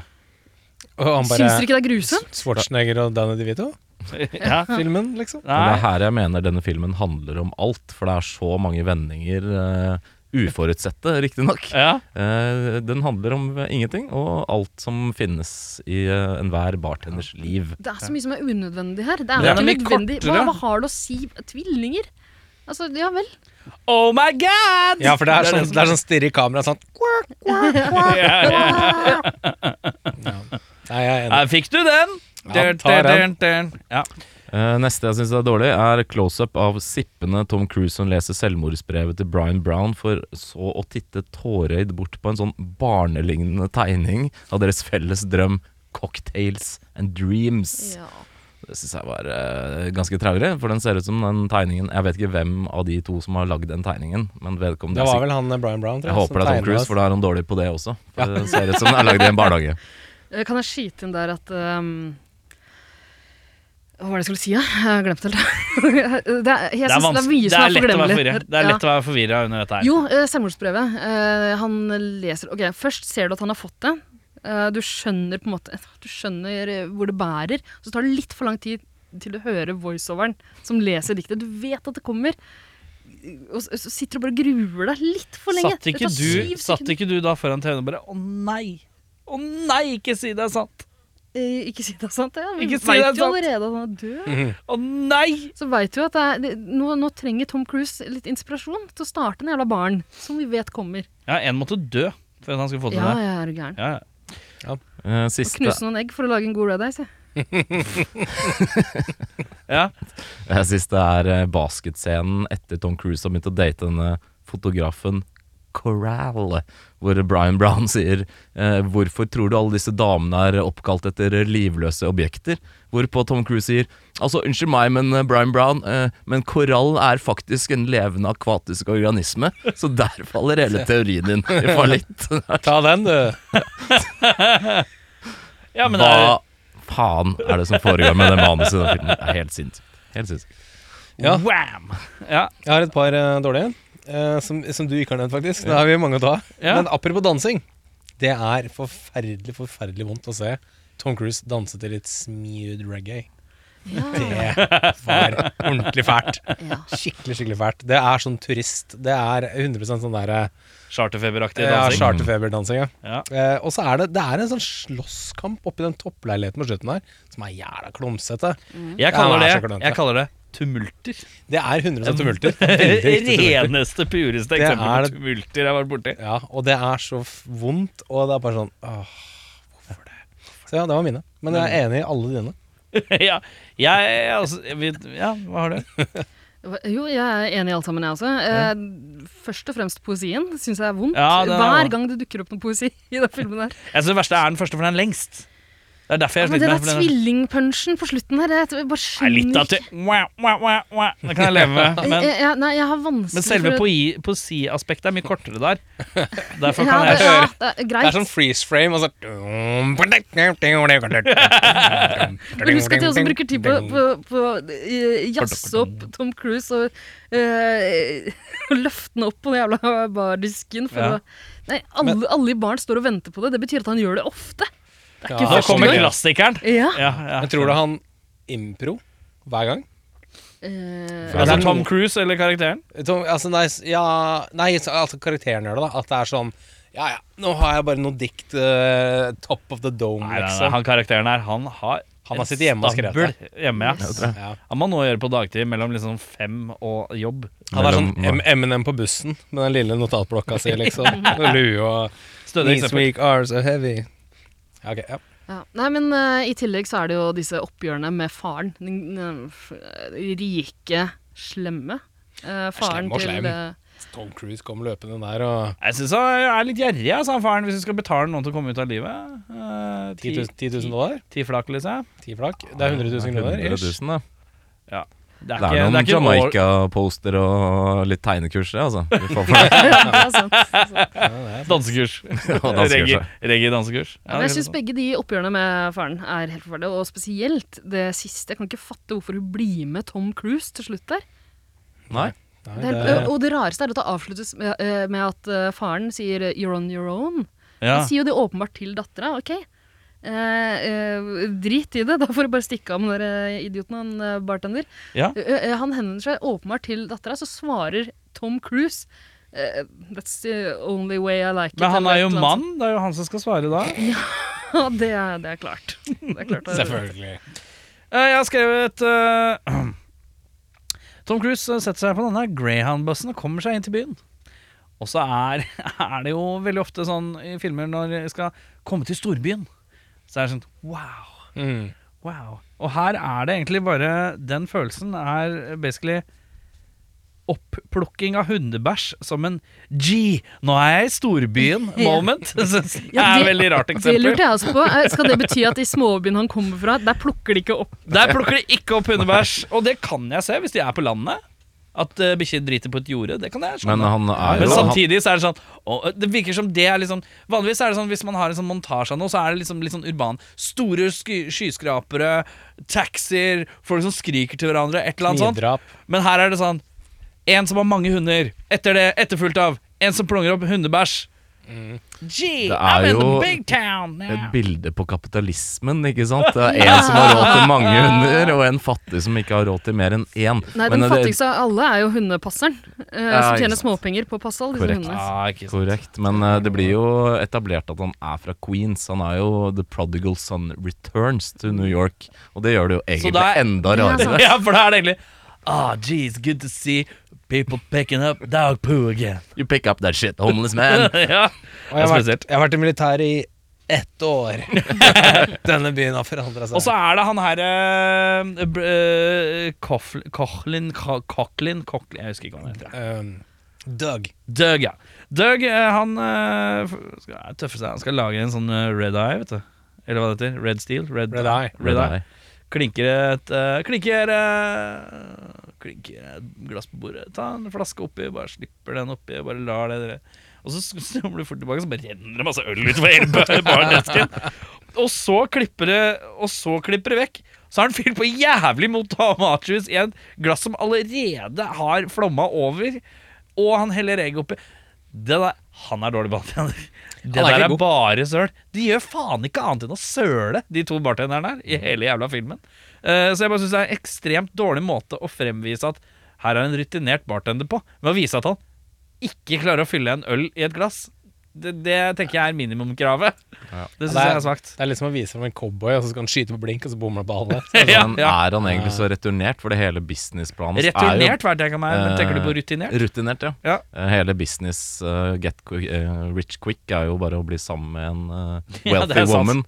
Og han bare Syns dere ikke det er grusomt? Schwarzenegger og Danny DeVito-filmen, ja. liksom. Men det er Nei. her jeg mener denne filmen handler om alt, for det er så mange vendinger. eh, uforutsette, riktignok. Ja. Eh, den handler om ingenting, og alt som finnes i eh, enhver bartenders liv. Det er så mye som er unødvendig her. Det er, Det er ikke litt nødvendig. Hva, kortere. hva har det å si? Tvillinger? Altså, ja vel. Oh my god! Ja, for det er Det er sånn, det som- det er sånn stirre i kamera sånn Nei, jeg er enig. Her fikk du den! Ja, tar den. Ja. Eh, neste jeg syns er dårlig, er close-up av sippende Tom Cruise som leser selvmordsbrevet til Brian Brown, for så å titte tåreøyd bort på en sånn barnelignende tegning av deres felles drøm, 'Cocktails and Dreams'. Ja. Det syns jeg var eh, ganske traurig, for den ser ut som den tegningen Jeg vet ikke hvem av de to som har lagd den tegningen, men vedkommende Det er var sikkert- vel han eh, Brian Brown, tror Jeg håper det er Tom Cruise, for da er han dårlig på det også. For Det ser ut som den er lagd i en barnehage. Eh, Kan jeg skyte inn der at ehm, Hva var det jeg skulle si, da? Jeg har glemt det. helt. det er, jeg synes det er vanskelig- mye som er lett å være forglemmelig. forvirra. Det er lett å være forvirra under dette her. Jo, eh, selvmordsbrevet. Eh, han leser Ok, først ser du at han har fått det. Eh, du skjønner på en måte Du skjønner eh, hvor det bærer. Så tar det litt for lang tid til du hører voiceoveren som leser diktet. Du vet at det kommer. Og så så sitter du bare og gruer deg litt for lenge. Satt ikke, Det tar du, syv satt sekunder. ikke du da foran TV-en og bare Å nei! Å nei, ikke si det er sant! Eh, ikke si det er sant. Ja. Vi Ikke si vet det er jo sant. allerede at han er død. Å nei! Så vet du at det er, det, nå, nå trenger Tom Cruise litt inspirasjon til å starte den jævla baren, som vi vet kommer. Ja, en måtte dø for at han skulle få til Ja, det. jeg er du gæren. Ja. Eh, Må siste Knuse noen egg for å lage en god Red Eyes, jeg. Ja. Jeg synes det er eh, basketscenen etter Tom Cruise har begynt å date denne fotografen Corral, hvor Brian Brown sier eh, 'Hvorfor tror du alle disse damene er oppkalt etter livløse objekter?' Hvorpå Tom Cruise sier 'Altså, unnskyld meg, men eh, Brian Brown, eh, men korall er faktisk en levende akvatisk organisme', så der faller hele teorien din i fallitt. Ta den, du. ja, men det er, Hva faen er det som foregår med det manuset i den filmen? Det er helt sinnssykt. Helt sinnssykt. Ja. Wham! Ja, Jeg har et par eh, dårlige, eh, som, som du ikke har nevnt, faktisk. Da har vi mange å ta. Ja. Men apropos dansing. Det er forferdelig, forferdelig vondt å se Tom Cruise danse til litt smooth reggae. Ja, Det var ordentlig fælt. ja. Skikkelig, skikkelig fælt. Det er sånn turist. Det er 100 sånn der eh, Charterfeberaktig Ja, dansing. charterfeberdansinga. Ja. Eh, og så er det, det er en sånn slåsskamp oppi den toppleiligheten på slutten der, som er jævla klumsete. Jeg Ja, kaller Mm. det er det, så klønete. jeg kaller det tumulter. Det er 100 tumulter. Veldig ekte tumulter. Reneste, pureste Det eksempel er- på tumulter jeg har vært borti. Ja, og det er så f- vondt, og det er bare sånn åh, hvorfor det? Så ja, det var mine. Men jeg er enig i alle dine. ja, jeg, altså, jeg vet, ja, hva har du? Jo, jeg er enig i alt sammen, jeg også. Eh, Først og fremst poesien syns jeg er vondt. Ja, det er Hver vondt. gang det dukker opp noe poesi i den filmen der. Jeg synes det verste er den første, for den er lengst. Det er derfor Ja, jeg men sliter den med der for den. tvillingpunchen på slutten her, jeg tror- jeg bare er- Nei, skjønner litt av til Wah, wah, wah, wah. Det kan jeg leve med. Men, jeg, jeg, nei, jeg har vanskelig men selve for å- poi- poesiaspektet er mye kortere der. Derfor ja, kan det, jeg ja, det er greit. Det er sånn freeze frame, og så Men husk at jeg også bruker tid på, på, på eh, jazze opp Tom Cruise og eh, løfte den opp på den jævla bardisken. For Ja. å, nei, alle, alle i baren står og venter på det. Det betyr at han gjør det ofte. Det er Ja, ikke Nå første kommer gang. klassikeren. Ja. Ja, ja. Men tror du han impro hver gang? Eh, Ja, det Altså er noe- Tom Cruise eller karakteren? Tom, altså, nei, s- ja, nei, så- altså karakteren gjør det, da. At det er sånn Ja ja, nå har jeg bare noe dikt eh, top of the dome, Nei, nei, nei, liksom. han karakteren her, han har Han har sittet hjemme og skrevet det. stabel Hjemme, ja. tror jeg. Ja. Han må nå gjøre på dagtid mellom liksom fem og jobb. Han er Mellom- sånn M- Eminem på bussen med den lille notatblokka si, liksom. Og lue og Stødig Knees eksempel. weak, are so heavy. Ja, ok, ja. ja. Nei, men eh, i tillegg så er det jo disse oppgjørene med faren. Den, den f- rike, slemme eh, faren slem og til slem. eh, Tom Cruise kom løpende der og Jeg syns han er litt gjerrig, altså, han faren, hvis du skal betale noen til å komme ut av livet. Eh, 10 000, 10 000 ti- dollar? Ti flak, liksom. 10 flak? Det er 100 000 kroner? 100 ish. 000, da. Det Det er ikke- noen det er ikke år- Jamaica-poster og litt tegnekurs, det, altså. Vi får for det. ja, sant, sant. Dansekurs. Ja, dansekurs, ja. Reggae- Reggae-dansekurs. Ja, men jeg sånn. syns begge de oppgjørene med faren er helt forferdelige, og spesielt det siste. Jeg kan ikke fatte hvorfor hun blir med Tom Cruise til slutt der. Nei. Nei, Det er, det- og det rareste er at det avsluttes med, eh, med at eh, faren sier eh, 'you're on your own'. ja. Han sier jo det åpenbart til dattera. Ok, eh, eh, drit i det, da får du bare stikke av med den der, eh, idioten han eh, bartender. Ja. Eh, eh, han henvender seg åpenbart til dattera, så svarer Tom Cruise eh, 'That's the only way I like it'. Men han eller er jo et eller annet mann, det er jo han som skal svare da. sånt. Ja, det, er- det er klart. Det er klart Selvfølgelig. Eh, Jeg har skrevet eh, Tom Cruise eh, setter seg på denne Greyhound-bussen og kommer seg inn til byen. Og så er, er det jo veldig ofte sånn i filmer når jeg skal komme til storbyen, så er det sånn wow, Mm. wow. Og her er det egentlig bare Den følelsen er basically Oppplukking av hundebæsj som en Gee, nå er jeg i storbyen moment. Synes jeg Ja, er det- veldig rart Det eksempel. lurte jeg også på. Eh, Skal det bety at i småbyen han kommer fra, der plukker de ikke opp Der plukker de ikke opp hundebæsj, og det kan jeg se hvis de er på landet. At uh, bikkjer driter på et jorde, det kan jeg Men skjønne. Men, han er jo han, samtidig så er det sånn å, Det virker som det er liksom Vanligvis er det sånn hvis man har en sånn montasje av noe, så er det liksom litt sånn urban. Store sky skyskrapere, taxier, folk som skriker til hverandre, et eller annet sånt. Knivdrap. Men her er det sånn En som har mange hunder. Etter det etterfulgt av en som plonger opp hundebæsj. Gee, Det er I'm in the jo big town now. et bilde på kapitalismen, ikke sant? Det er en som har råd til mange hunder, og en fattig som ikke har råd til mer enn én. Nei, den Men eh, det- fattigste av alle er jo hundepasseren, eh, Ja, som ikke tjener sant. småpenger på å passe alle disse Korrekt. hundene. Ah, ikke sant. Korrekt, men eh, det blir jo etablert at han er fra Queens. Han er jo The Prodigal Son Returns to New York, og det gjør det jo egentlig da er- enda rarere. altså. Ja, for da er det egentlig Ah, geez, good to see people picking up dog poo again. You pick up that shit, homeless man. ja. Og jeg har, spesielt. vært, jeg har vært i militæret i ett år. Denne byen har forandra seg. Og så er det han her eh, br- eh, Coughlin Coughlin Coughlin- Coughlin Jeg husker ikke hva han heter. Um, Doug. Doug, ja. Doug, eh, han eh, f- skal tøffe seg. Han skal lage en sånn eh, red eye, vet du. Eller hva det heter. Red steel. Red, Red eye. Red eye. Klinker et eh, Klinker eh, Klinker et glass på bordet. Ta en flaske oppi, bare slipper den oppi. Bare lar det dere. Og så snubler du fort tilbake, så bare renner det masse øl utover hele bar- bardesken. Og så klipper det Og så klipper det vekk. Så har han fylt på jævlig mot tomatjus i et glass som allerede har flomma over. Og han heller egg oppi. Det der, han er dårlig bartender. Det Han er der ikke er god. bare søl. De gjør faen ikke annet enn å søle, de to bartenderne her, i Mm. hele jævla filmen. Eh, så jeg bare syns det er en ekstremt dårlig måte å fremvise at her er en rutinert bartender på, ved å vise at han ikke klarer å fylle en øl i et glass. Det, det tenker jeg er minimumkravet. Ja. Det Ja, syns det er- jeg er svakt. Det er litt som å vise fram en cowboy, og så skal han skyte på blink, og så bommer han på alle. Ja, Men ja. er han egentlig så returnert? For det hele businessplanen hans Returnert, hva tenker, meg, men eh, tenker du på er rutinert? jo rutinert. Ja. Ja. Eh, Hele business eh, get qui- eh, rich quick er jo bare å bli sammen med en eh, Ja, det wealthy er sant. woman.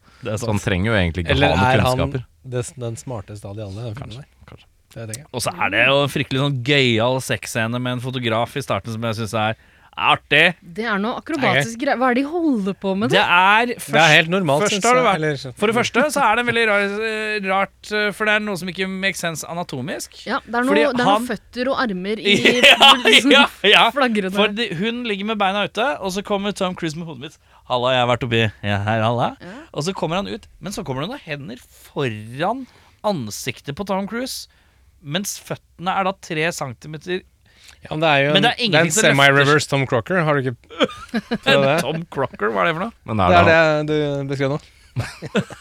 Så han trenger jo egentlig ikke Eller ha er noen han kunnskaper. det, den smarteste av de alle? den filmen der? kanskje. Det tenker jeg. Og så er det jo en fryktelig sånn gøyal sexscene med en fotograf i starten som jeg syns er artig. Det er noe akrobatisk greier. Hva er det de holder på med? Det da? er Det er først helt normalt, først synes har det vært- Eller, sånn. For det første så er det veldig rar, rart, eh, for det er noe som ikke makes sense anatomisk. Ja, det er noe, Fordi det er han- noe føtter og armer i liksom Ja, ja, ja. flagrende For de, hun ligger med beina ute, og så kommer Tom Cruise med hodet mitt. Halla, jeg har vært oppi ja, her, halla. Ja. Og så kommer han ut, men så kommer det noen hender foran ansiktet på Tom Cruise. Mens føttene er da tre centimeter ja, men det er jo Men en, det er det er ingenting en som løfter seg. semi-reverse Tom Crocker. Har du ikke prøvd det? Tom Crocker, hva er det for noe? Men Det er er det, det du beskrev nå.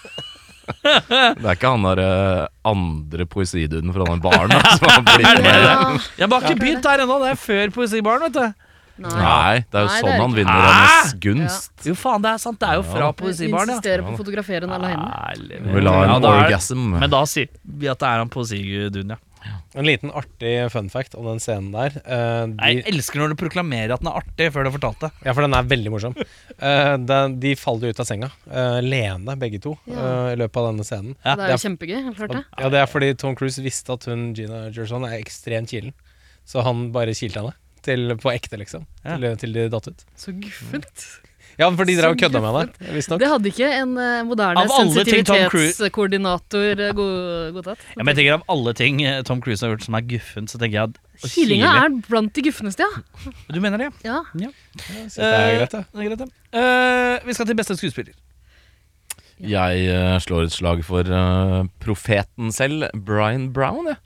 han, det er ikke han der eh, andre poesiduden fra den baren da, som har blitt med? Ja, Jeg har ikke begynt der ennå, det er før Poesibaren, vet du. nei. Nei, det er Nei, det jo er sånn han ikke- vinner Ah! hennes gunst. Jo, faen, det er sant. Det er jo fra Poesibaren, ja. Insisterer på å fotografere den alene. Ærlig. Vil ha Ja, en da er- orgasm. Men da sier vi at det er han Poesigudun, ja. En liten artig fun fact om den scenen der. Eh, de, Jeg elsker når du proklamerer at den er artig, før du har fortalt det. ja, for den er veldig morsom. Eh, den, de faller jo ut av senga, eh, lene begge to, Ja. eh, i løpet av denne scenen. Ja, Det er jo kjempegøy. Har du hørt det? Ja, Det er fordi Tom Cruise visste at hun Gina Gerson er ekstremt kilen, så han bare kilte henne. Til, på ekte, liksom. Ja. Til, til de datt ut. Så guffent. Mm. Ja, for de drev og Så kødda med det, visstnok. Det hadde ikke en eh, moderne Av alle ting Tom Cruise- sensitivitetskoordinator eh, god- godtatt. Ja, men jeg tenker Av alle ting eh, Tom Cruise har gjort som er guffent, så tenker jeg at Kilinga er blant de gufneste, ja. Du mener det? ja. Så Det er greit, det. Eh, det er greit, ja. Eh, vi skal til beste skuespiller. Jeg eh, slår et slag for eh, profeten selv, Brian Brown. Ja.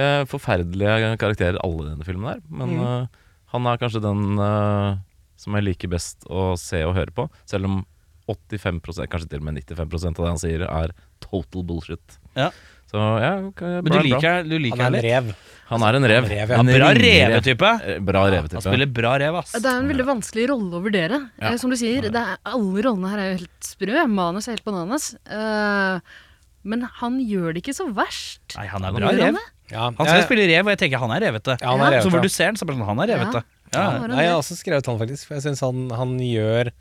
Eh, forferdelige karakterer alle i denne filmen her. Men eh, han er kanskje den eh, som jeg liker best å se og høre på. Selv om 85 kanskje til og med 95 av det han sier, er total bullshit. Ja. Så ja, ok, Men du Brian Brown. liker, du liker Han er en litt. rev. Han er en rev. rev, ja. En Bra ringrev. revetype. Eh, Bra revetype. Han spiller bra rev, ass. Det er en veldig vanskelig rolle å vurdere. Ja. Eh, Som du sier, det er, alle rollene her er jo helt sprø. Manus er helt bananas. Eh, men han gjør det ikke så verst. Nei, han er bra Gjør han rev. det? Ja, Han skal jeg, spille rev, og jeg tenker han er revete. ja, han er Så revet, hvor ja. du ser han, så er det sånn, han er revete. Ja. altså. Ja. Nei, jeg har også skrevet han, faktisk. For jeg syns han, han gjør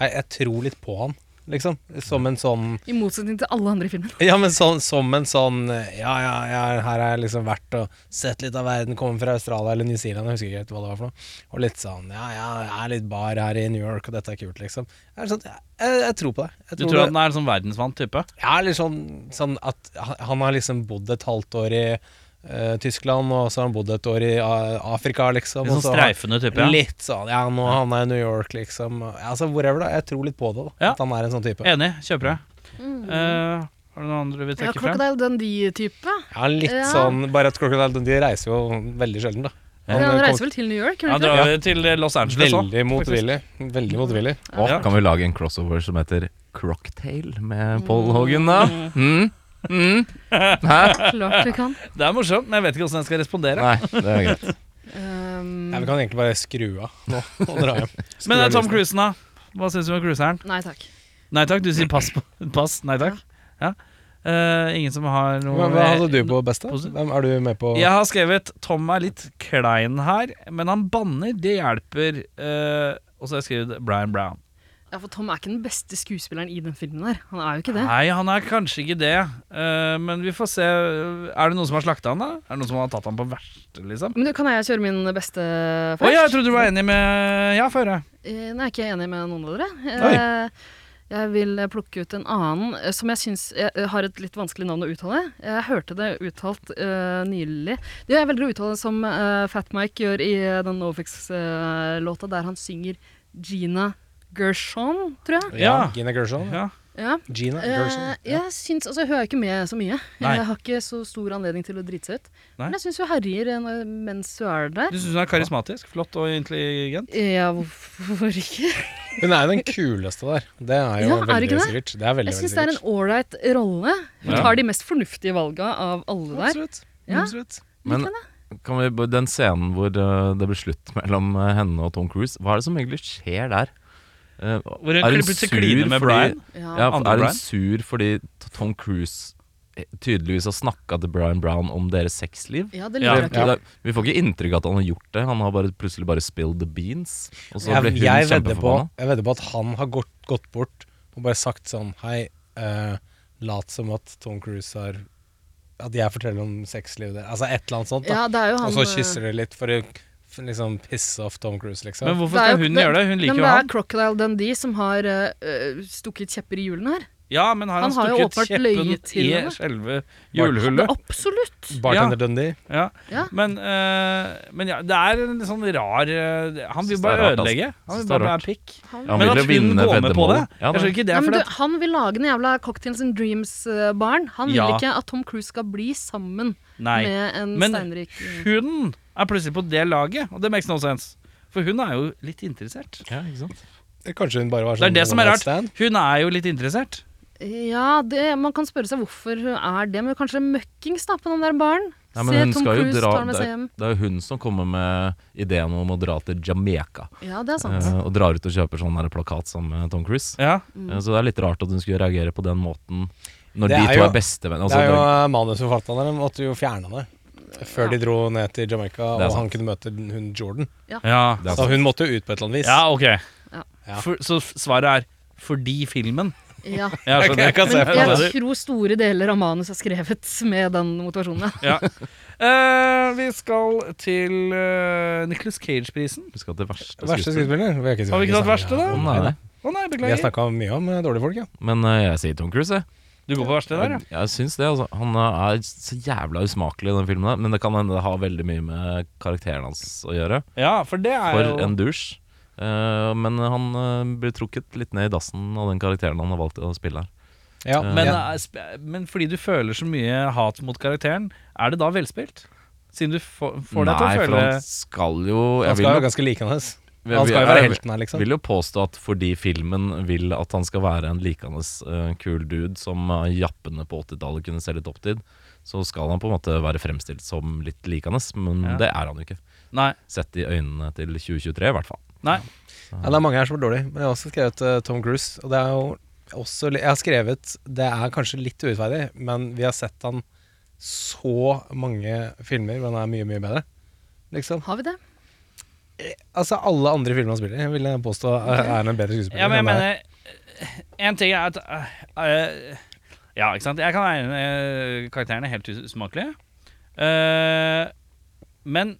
Nei, jeg tror litt på han, liksom. Som en sånn I motsetning til alle andre i filmen. Ja, men sånn, som en sånn Ja, ja, ja her har jeg liksom vært og sett litt av verden, kommer fra Australia eller New Zealand, jeg husker ikke helt hva det var for noe. Og litt sånn Ja, ja, jeg er litt bar her i New York, og dette er kult, liksom. Jeg, er sånn, jeg, jeg tror på det. Jeg Du tror det- han er en sånn verdensvant type? Ja, eller sånn, sånn at han- han har liksom bodd et halvt år i eh, Tyskland, og så har han bodd et år i A- Afrika, liksom. Litt og sånn så har han- streifende type? Ja. Litt sånn, ja, nå havna jeg i New York, liksom. Altså, whatever, da. Jeg tror litt på det, da. Ja. At han er en sånn type. Enig. Kjøper det. Eh, har du noen andre vi Mm. Ja, trekker frem? Crocodile Dundee-type. Ja, litt Ja. sånn, bare at Crocodile Dundee reiser jo veldig sjelden, da. Han, eh, kom- reiser vel til New York? Han gjør han ikke det? drar jo til Los Angeles òg. Veldig motvillig. Veldig motvillig. Og Ja. kan vi lage en crossover som heter Crocktail med Paul Hogan, da? Mm. Mm. Hæ? Klart vi kan. Det er morsomt, men jeg vet ikke hvordan jeg skal respondere. Nei, det er greit. Um, Ja, vi kan egentlig bare skru av nå og dra hjem. Skru Men det av er Tom lysene. Cruisen, da. Hva syns du om cruiseren? nei takk. Nei takk, du sier pass. På. pass. Nei takk. Ja. Eh, ingen som har noe Hva, hva hadde du på best, da? Positiv. Hvem er du med på? Jeg har skrevet 'Tom er litt klein her', men han banner. Det hjelper. Eh, og så har jeg skrevet Brian Brown. Ja, for Tom er ikke den beste skuespilleren i den filmen der. Han er jo ikke det. Nei, han er kanskje ikke det, eh, men vi får se. Er det noen som har slakta han, da? Er det noen som har tatt han på verste, liksom? Men du, kan jeg kjøre min beste Å først? ja, jeg trodde du var enig med Ja, få høre. Eh, Nå er jeg ikke enig med noen av dere. Eh, Jeg vil eh, plukke ut en annen eh, som jeg syns har et litt vanskelig navn å uttale. Jeg hørte det uttalt eh, nylig. Det jeg velger å uttale som eh, Fat Mike gjør i eh, den Novix-låta, der han synger Gina Gershon, tror jeg. Ja, Ja. Gina Gershon. Ja. Ja. Gina Gershon. Eh, jeg syns, altså jeg hører ikke med så mye. Nei. Jeg har ikke så stor anledning til å drite seg ut. Nei. Men jeg syns hun herjer eh, når- mens hun er der. Du syns hun er karismatisk, flott og intelligent? Ja, hvorfor ikke? Hun er jo den kuleste der. Det er jo Ja, er det veldig ikke det? sikkert. Det er veldig, Jeg syns det er veldig en sikkert. ålreit rolle. Hun Ja. tar de mest fornuftige valga av alle der. Absolutt. Ja. Absolutt. Men kan vi, bare- den scenen hvor eh, det blir slutt mellom eh, henne og Tom Cruise, hva er det som egentlig skjer der? Eh, Hvor hun plutselig kliner med Brian. Ja. Ja, Andre er hun Brian? sur fordi T- Tom Cruise eh, tydeligvis har snakka til Brian Brown om deres sexliv? Ja, det Ja. lurer jeg Det- på. det- Vi får ikke inntrykk av at han har gjort det. Han har bare plutselig bare spilled the beans. Og så ble Jeg, hun jeg, vedder på, kjempeforbanna. jeg vedder på at han har gått, gått bort og bare sagt sånn Hei, eh, lat som at Tom Cruise har At jeg forteller om sexlivet deres. Altså et eller annet sånt. da Ja, det er jo han Og Altså, så kysser de litt for å f- liksom pisse off Tom Cruise, liksom. Men Det hvorfor er skal jo- hun gjøre det? Hun liker men jo det han. er Crocodile Dundee som har eh, øh, stukket kjepper i hjulene her. Ja, men har han, Han har stukket jo åpenbart kjeppen løyet i til henne. selve Det hjulhullet? absolutt! Bartender Dundee. Ja. Ja. Men, eh, men ja, det er en sånn rar eh, Han vil Synes det er bare rart, altså. ødelegge. Han Synes vil det er bare rart. være pikk. Han, Ja, Men Han vil at jo hun vinne går med på det, veddemål. Ja, jeg skjønner nei. ikke det. ja, men fordi du, at- han vil lage den jævla Cocktails and Dreams-baren. Han vil Ja. ikke at Tom Cruise skal bli sammen nei. med en Men steinrik hun er plutselig på det laget, og det makes no sense. For hun er jo litt interessert. Ja, ikke sant? Kanskje hun bare var Det sånn er det som one er night rart. stand. Hun er jo litt interessert. Ja, det, man kan spørre seg hvorfor hun er det, men kanskje møkkings da på den der baren? Nei, men Se hun Tom skal jo Cruise dra- tar med seg det er- hjem. Det er jo hun som kommer med ideen om å dra til Jamaica. Ja, det er sant. eh, og drar ut og kjøper sånn her plakat sammen med Tom Cruise. Ja. Eh, så det er litt rart at hun skulle reagere på den måten Det når de er to jo- er bestevenner. det Altså, er jo manusforfatterne de måtte jo fjerne det. Før de dro ned til Jamaica Det er og han sant. kunne møte hun Jordan. Ja, det er Så sant. hun måtte jo ut på et eller annet vis. ja ok. Ja. Ja. For, så f- svaret er fordi filmen. Ja. Jeg Jeg, jeg skjønner. kan se for meg Men det. jeg tror store deler av manus er skrevet med den motivasjonen. ja. Ja. Eh, vi skal til uh, Nicholas Cage-prisen. Vi skal til verste Verste skuespiller. Sånn skuespiller? Vi ikke Har vi ikke snakket- tatt verste, da? Ja, Å, nei, nei. Å nei, Vi har beklager. snakka mye om eh, dårlige folk, ja. Men eh, jeg sier Tom Cruise, jeg. Du går på verste der, ja? Jeg, jeg syns det. Altså. Han eh, er så jævla usmakelig i den filmen. der, Men det kan hende det har veldig mye med karakteren hans å gjøre. Ja, for det er jo For en douche. Eh, men han eh, blir trukket litt ned i dassen av den karakteren han har valgt å spille her. ja. men, eh, ja. er sp- men fordi du føler så mye hat mot karakteren, er det da velspilt? Siden du får, får deg til å Nei, for føle han skal jo Han jeg skal vil, jo ganske like hans. jo- Han skal jo jeg- være jeg- helten her, liksom. vil jo påstå at fordi filmen vil at han skal være en likende eh, kul dude som eh, jappene på 80-tallet kunne se litt opp til, så skal han på en måte være fremstilt som litt likende, men Ja. det er han jo ikke. Nei. Sett i øynene til 2023, i hvert fall. nei. Ja, det er mange her som er dårlige, men jeg har også skrevet eh, Tom Cruise. Og det er jo også li- Jeg har skrevet Det er kanskje litt urettferdig, men vi har sett han så mange filmer hvor han er mye, mye bedre. Liksom. Har vi det? Altså alle andre filmer han spiller i, vil jeg påstå eh, er han en bedre skuespiller. Ja, men jeg enn han er. mener En ting er at øh, øh, Ja, ikke sant. Jeg kan være øh, karakterene helt us- usmakelige. Eh, men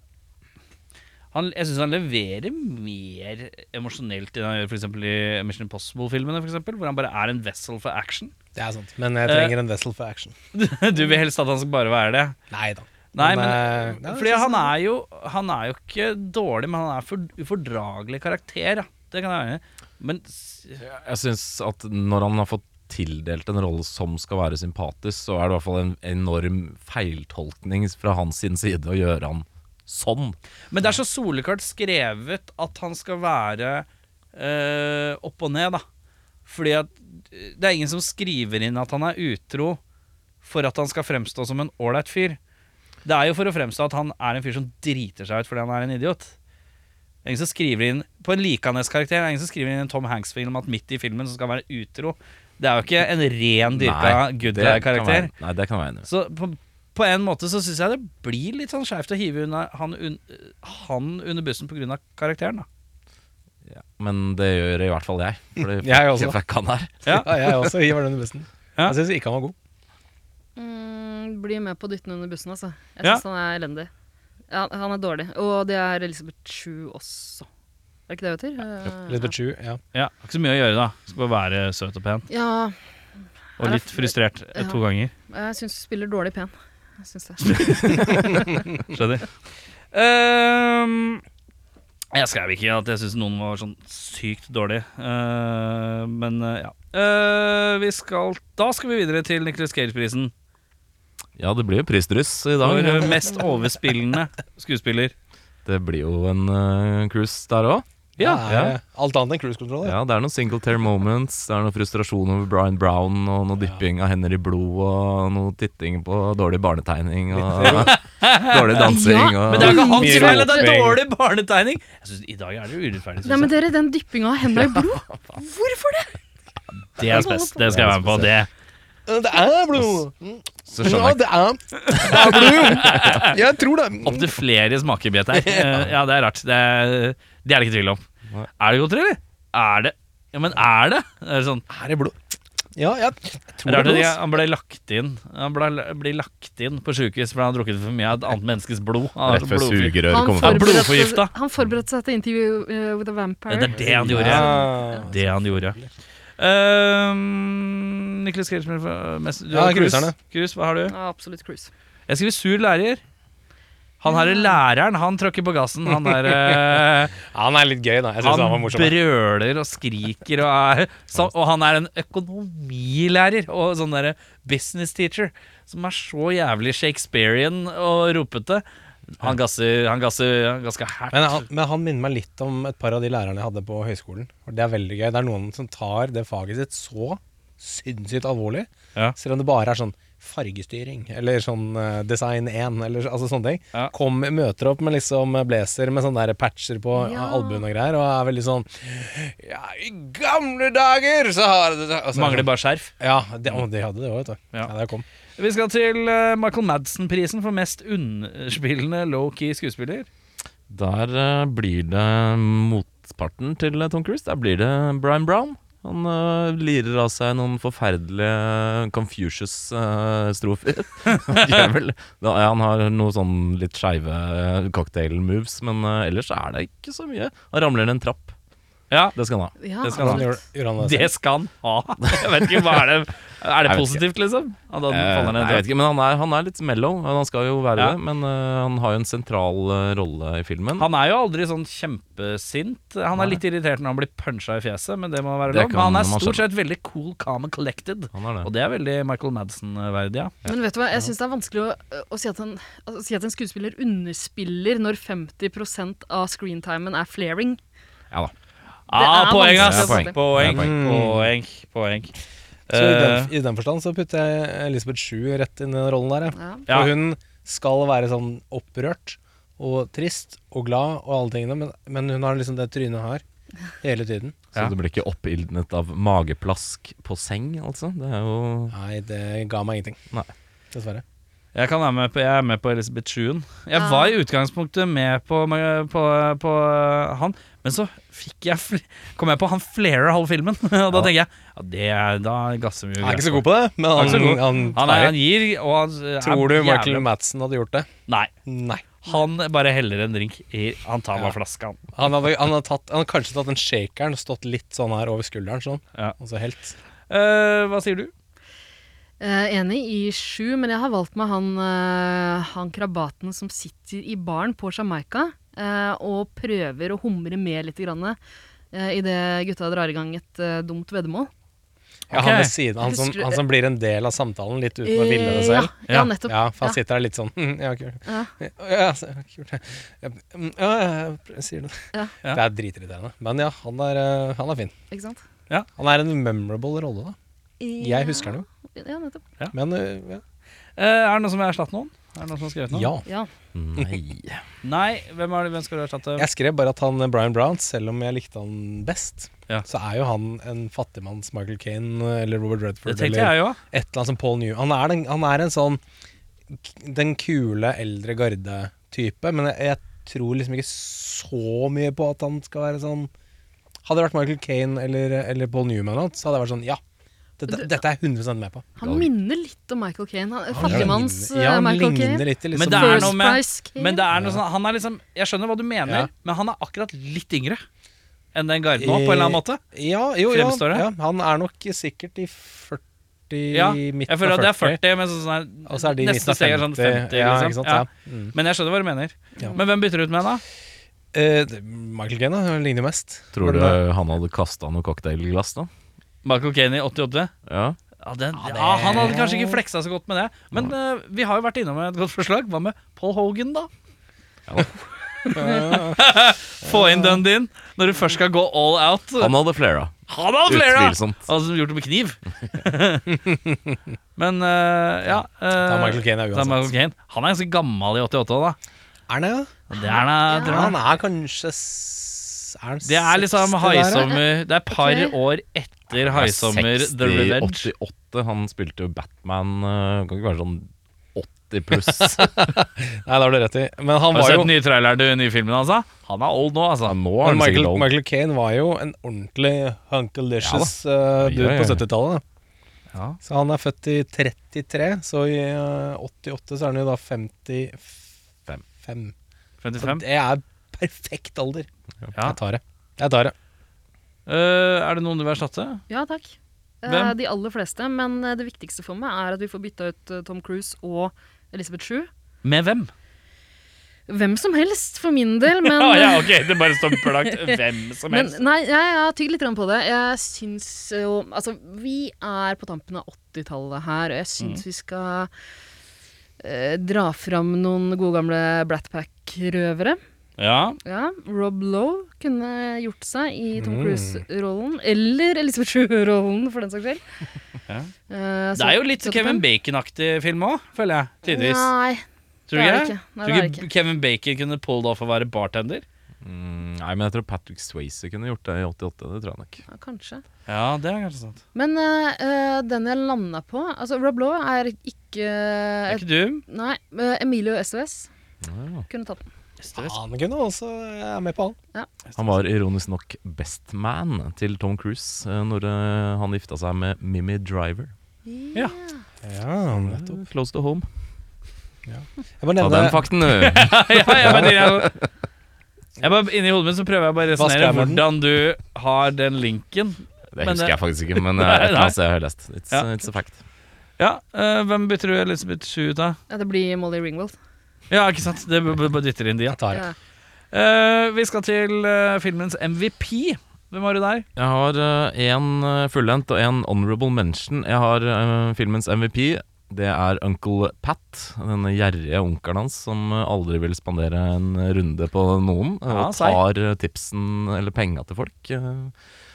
han, jeg syns han leverer mer emosjonelt enn han gjør for eksempel i Mission Impossible-filmene, for eksempel, hvor han bare er en vessel for action. Det er sant. Men jeg Eh, trenger en vessel for action. Du vil helst at han skal bare være det. Nei da. Nei, Men, men, eh, nei, Fordi jeg synes han er, jo, han er jo ikke dårlig, men han er for, ufordragelig karakter. Da. Det kan jeg være enig i. Men s- Jeg syns at når han har fått tildelt en rolle som skal være sympatisk, så er det i hvert fall en enorm feiltolkning fra hans sin side å gjøre han sånn. Men det er så soleklart skrevet at han skal være eh, opp og ned, da. Fordi at eh, det er ingen som skriver inn at han er utro for at han skal fremstå som en ålreit fyr. Det er jo for å fremstå at han er en fyr som driter seg ut fordi han er en idiot. Det er ingen som skriver inn På en Likanes-karakter det er ingen som skriver inn i en Tom Hanks-film at midt i filmen så skal han være utro. Det er jo ikke en ren dyrka Nei, good det kan guy-karakter. være- Nei, det kan være enig i. Så på, på en måte så syns jeg det blir litt sånn skeivt å hive unna han, un, han under bussen pga. karakteren, da. Ja. Men det gjør i hvert fall jeg. Fordi Jeg også. fuck- fuck han her. Ja. Ja, jeg også. Gi var den besten. Ja. Jeg syns ikke han var god. Mm, bli med på å dytte den under bussen, altså. Jeg Ja. syns han er elendig. Ja, han er dårlig. Og det er Elisabeth Chu også. Er det ikke det hun heter? Eh, Lisbeth Chu, ja. Ja, Har ikke så mye å gjøre, da. Skal bare være søt og pen. Ja, Og litt frustrert eh, to ganger. jeg syns hun spiller dårlig pen. Jeg syns det. Skjønner. Ehm, jeg skrev ikke at jeg syns noen var sånn sykt dårlig, Eh, men eh, ja. Eh, vi skal, da skal vi videre til Nicholas Cage-prisen Ja, det blir jo prisdryss i for eh, dag. mest overspillende skuespiller. Det blir jo en eh, cruise der òg. Ja, Ja. det er Alt annet enn cruise control. Ja. Ja, det er noen single-tear moments. Det er noe frustrasjon over Brian Brown, og noe dypping av hender i blod, og noe titting på dårlig barnetegning, og dårlig dansing. Ja, Og, Men det er jo ikke hans Mye feil at det er roping. dårlig barnetegning! Jeg synes, I dag er det jo urettferdig. Nei, Synes men jeg. dere, den dyppinga av henda i blod, hvorfor det? Det er spes. Det skal jeg være med på. Det. Det er blod! så Ja, skjønner jeg det er, det er blod! Jeg tror det. Opptil flere smakebiter her. Eh, Ja, det er rart. Det er det er det ikke tvil om. Nei. Er det godteri, eller? Er det? Ja, men er det? Er det sånn Er det blod? Ja, jeg tror Rart at jeg- det. er blod, ass. han ble lagt inn Han ble, blir lagt inn på sykehus fordi han har drukket for mye av et annet menneskes blod. Han er Rett før blodfri. sugerøret Han kommer fram. får- blodforgifta. han forberedte seg til interview eh, with a vampire. Ja, det er det han gjorde. Ja. Det han gjorde. Um, Nicholas Cage med- mest- du Ja, har krus. cruiserne. Krus, hva har du? Ja, absolutt cruise. Jeg skriver sur lærer. Han her er læreren, han tråkker på gassen. Han er eh, Han er litt gøy, da. Jeg syns han var Han morsom. brøler og skriker og er så, Og han er en økonomilærer og sånn derre business teacher som er så jævlig Shakespearean og ropete. Han gasser, han gasser, han gasser hardt. Men han, men han minner meg litt om et par av de lærerne jeg hadde på høyskolen. For Det er veldig gøy. Det er noen som tar det faget sitt så sinnssykt alvorlig, Ja. selv om det bare er sånn fargestyring eller sånn eh, design 1 eller altså sånne ting. Ja. Kom, møter opp med liksom blazer med sånne der patcher på Ja. albuen og greier, og er veldig sånn Ja, i gamle dager så har det og så er det Mangler sånn, bare skjerf. Ja, det, å, de hadde det òg, vet du. Ja. Ja. det kom. Vi skal til eh, Michael Madsen-prisen for mest underspillende low-key skuespiller. Der eh, blir det motparten til eh, Tom Cruise. Der blir det Brian Brown. Han eh, lirer av seg noen forferdelige Confucius-strofer. Jævel. Da- ja, han har noen sånn litt skeive eh, cocktail-moves, men eh, ellers er det ikke så mye. Han ramler ned en trapp. Ja. Det skal han ha. Ja, Det skal han Gjorde- absolutt. gjorde han det Det skal han ha! Jeg vet ikke, hva er det Er det Jeg vet positivt, liksom? At han Eh, faller ned? nei, jeg vet ikke, men han er, han er litt mellow. men Han skal jo Ja. være det, men eh, han har jo en sentral eh, rolle i filmen. Han er jo aldri sånn kjempesint. Han er litt irritert når han blir punsja i fjeset, men det må være Det lov. kan Men han er man stort sett veldig cool, calm and collected. Han er det. Og det er veldig Michael Madsen-verdig, ja. Men vet du hva, jeg syns det er vanskelig å, å si, at en, å si at en skuespiller underspiller når 50 av screentimen er flaring. Ja da. Ah, er poeng, ass! vanskelig å få til. Poeng, Det er poeng. poeng, poeng. Så i den, Eh, I den forstand så putter jeg Elisabeth Schue rett inn i den rollen der. jeg. Ja. Ja. For hun skal være sånn opprørt og trist og glad og alle tingene, men, men hun har liksom det trynet her hele tiden. Så du blir ikke oppildnet av mageplask på seng, altså? Det er jo Nei, det ga meg ingenting. Nei. Dessverre. Jeg, kan være med på, jeg er med på Elisabeth Schuen. Jeg Ja. var i utgangspunktet med på, på, på eh, han, men så fikk jeg fl- kom jeg på han flarer halve filmen. Og da tenker jeg ja, det er, da gasser vi jo Han er greit ikke så god på det, men Han er ikke så han, god. han, Han, er, han gir, og han er Tror du Michael jævlig- Madsen hadde gjort det? Nei. Nei. Han bare heller en drink i Han tar bare flaska, han. Han hadde, han hadde, tatt, han hadde kanskje tatt en shakeren og stått litt sånn her over skulderen, sånn. Ja. Og så helt. Eh, hva sier du? Eh, enig i sju, men jeg har valgt meg han, eh, han krabaten som sitter i baren på Jamaica eh, og prøver å humre med litt grann, eh, idet gutta drar i gang et eh, dumt veddemål. Ja, Ok. han ved siden av, han, som- Husker du- han som blir en del av samtalen, litt uten å ville det Eh, selv. Ja, ja, nettopp. Ja, for han Ja. sitter der litt sånn «Mm, Ja, kult. Ja. Ja, så, kult. Ja, mm, ja, jeg pr- sier det. Ja. Ja. Det er dritirriterende. Men ja, han er, eh, han er fin. Ikke sant? Han er en memorable rolle, da. Jeg husker den jo. Ja, nettopp. Men eh, Eh, er det noen som vil erstatte noen? Er det noen som har skrevet ja. noe? ja. Ja. Nei. Nei, hvem, er det, hvem skal du erstatte? Jeg skrev bare at han eh, Brian Brown, selv om jeg likte han best, Ja. så er jo han en fattigmanns Michael Kane eh, eller Robert Det Redford tenkte eller jeg jo. et eller annet som Paul New. Han er, den, han er en sånn k- den kule, eldre garde-type, men jeg, jeg tror liksom ikke så mye på at han skal være sånn Hadde det vært Michael Kane eller, eller Paul Newman, eller noe, så hadde jeg vært sånn Ja, dette, dette er jeg 100 med på. Han minner litt om Michael Caine. Han- Fattigmanns ligner- ja, eh, han Michael ligner Caine. Litt, i liksom, Men det er noe First med- Price Caine. Men det er noe sånn, han er liksom Jeg skjønner hva du mener, Ja. men han er akkurat litt yngre enn den garden nå, på en eller annen måte. ja, jo, ja, Fremstår det? ja, han er nok sikkert i 40 Ja, midten jeg føler at det av er 40, men sånn, sånn, Og så er de i midten neste av steg 50. er sånn 50. ja, liksom. ikke sant? Ja. Ja. Mm. Men jeg skjønner hva du mener. Ja. Men hvem bytter du ut med, da? Eh, det- Michael Kane da, han ligner jo mest. Tror Men, du eh, han hadde kasta noe cocktailglass, da? Michael Kane i 88? Ja. Ja, den, ja, Han hadde kanskje ikke fleksa så godt med det, men eh, vi har jo vært innom et godt forslag. Hva med Paul Hogan, da? Få inn den din når du først skal gå all out. Han hadde flera. Han hadde flere! Utvilsomt. Altså gjort det med kniv. Men eh, ja eh, Da er Michael Caine er det er Michael uansett. Caine. Han er ganske gammel i 88, da. Er han det, da? Det er, da, tror jeg. Han er kanskje s- Er han det er liksom 60 der, da? Haisommer Det er et par Ok. år etter Haisommer The 60, Revenge. 88, han spilte jo Batman eh, Kan ikke være sånn 80 pluss. Nei, da har du rett i. Men han Har du var sett jo den nye traileren til den nye filmen hans? da? Han er old nå, altså. Nå er men han Michael, sikkert old. Michael Kane var jo en ordentlig hunkalicious uh, dude Ja, ja, ja. på 70-tallet. da. Ja. Så han er født i 33, så i uh, 88 så er han jo da 55. Så 55. det er perfekt alder. Ja. Jeg tar det. Jeg tar det. Eh, er det noen du vil erstatte? Ja, takk. Eh, Hvem? De aller fleste, men eh, det viktigste for meg er at vi får bytta ut eh, Tom Cruise og Elizabeth Shue. Med hvem? Hvem som helst, for min del, men eh, Ja, ja, ok, det bare står planlagt hvem som Men helst. nei, jeg jeg har tygd litt grann på det. Jeg syns jo Altså, vi er på tampen av 80-tallet her, og jeg Mm. syns vi skal eh, dra fram noen gode gamle Bratpack-røvere. ja. Ja, Rob Lowe kunne gjort seg i Tom Mm. Cruise-rollen. Eller Elisabeth Shue-rollen, for den saks skyld. Eh, Det er jo litt så- Kevin Bacon-aktig film òg, føler jeg. Tidvis. Nei, Tror du det ikke? er det? det ikke. Nei, Tror det du er ikke Kevin Bacon kunne pulled off å være bartender? Mm, nei, men jeg tror Patrick Swayze kunne gjort det i 88. Det tror jeg nok. ja, kanskje. Ja, det er kanskje sant. Men eh, eh, den jeg landa på Altså, Rob Lowe er ikke Er et, ikke du? Nei, eh, Emilio SOS kunne tatt den. Han kunne også altså. Jeg er med på han. Han var ironisk nok best man til Tom Cruise eh, når eh, han gifta seg med Mimmi Driver. Ja. Ja, nettopp. Close to home. Jeg bare Ta nevner den fakten, du. ja, jeg bare, jeg, jeg bare, inni hodet mitt så prøver jeg bare å Hva skrev resonnere jeg med den? hvordan du har den linken. Det Men, husker eh, jeg faktisk ikke, men eh, Nei, et eller nei. annet sted har jeg lest. It's, eh, Ja. it's a fact. Ja, eh, Hvem bytter du Elisabeth Shue ut av? Ja, det blir Molly Ringwald. Ja, ikke sant? Det b- b- bare dytter inn de, ja. Jeg tar det. Ja. Eh, vi skal til eh, filmens MVP. Hvem har du der? Jeg har én fullendt og én honorable mention. Jeg har eh, filmens MVP. Det er Uncle Pat, denne gjerrige onkelen hans som eh, aldri vil spandere en runde på noen. eh, Ja, Og seig. tar eh, tipsen eller penga til folk. eh.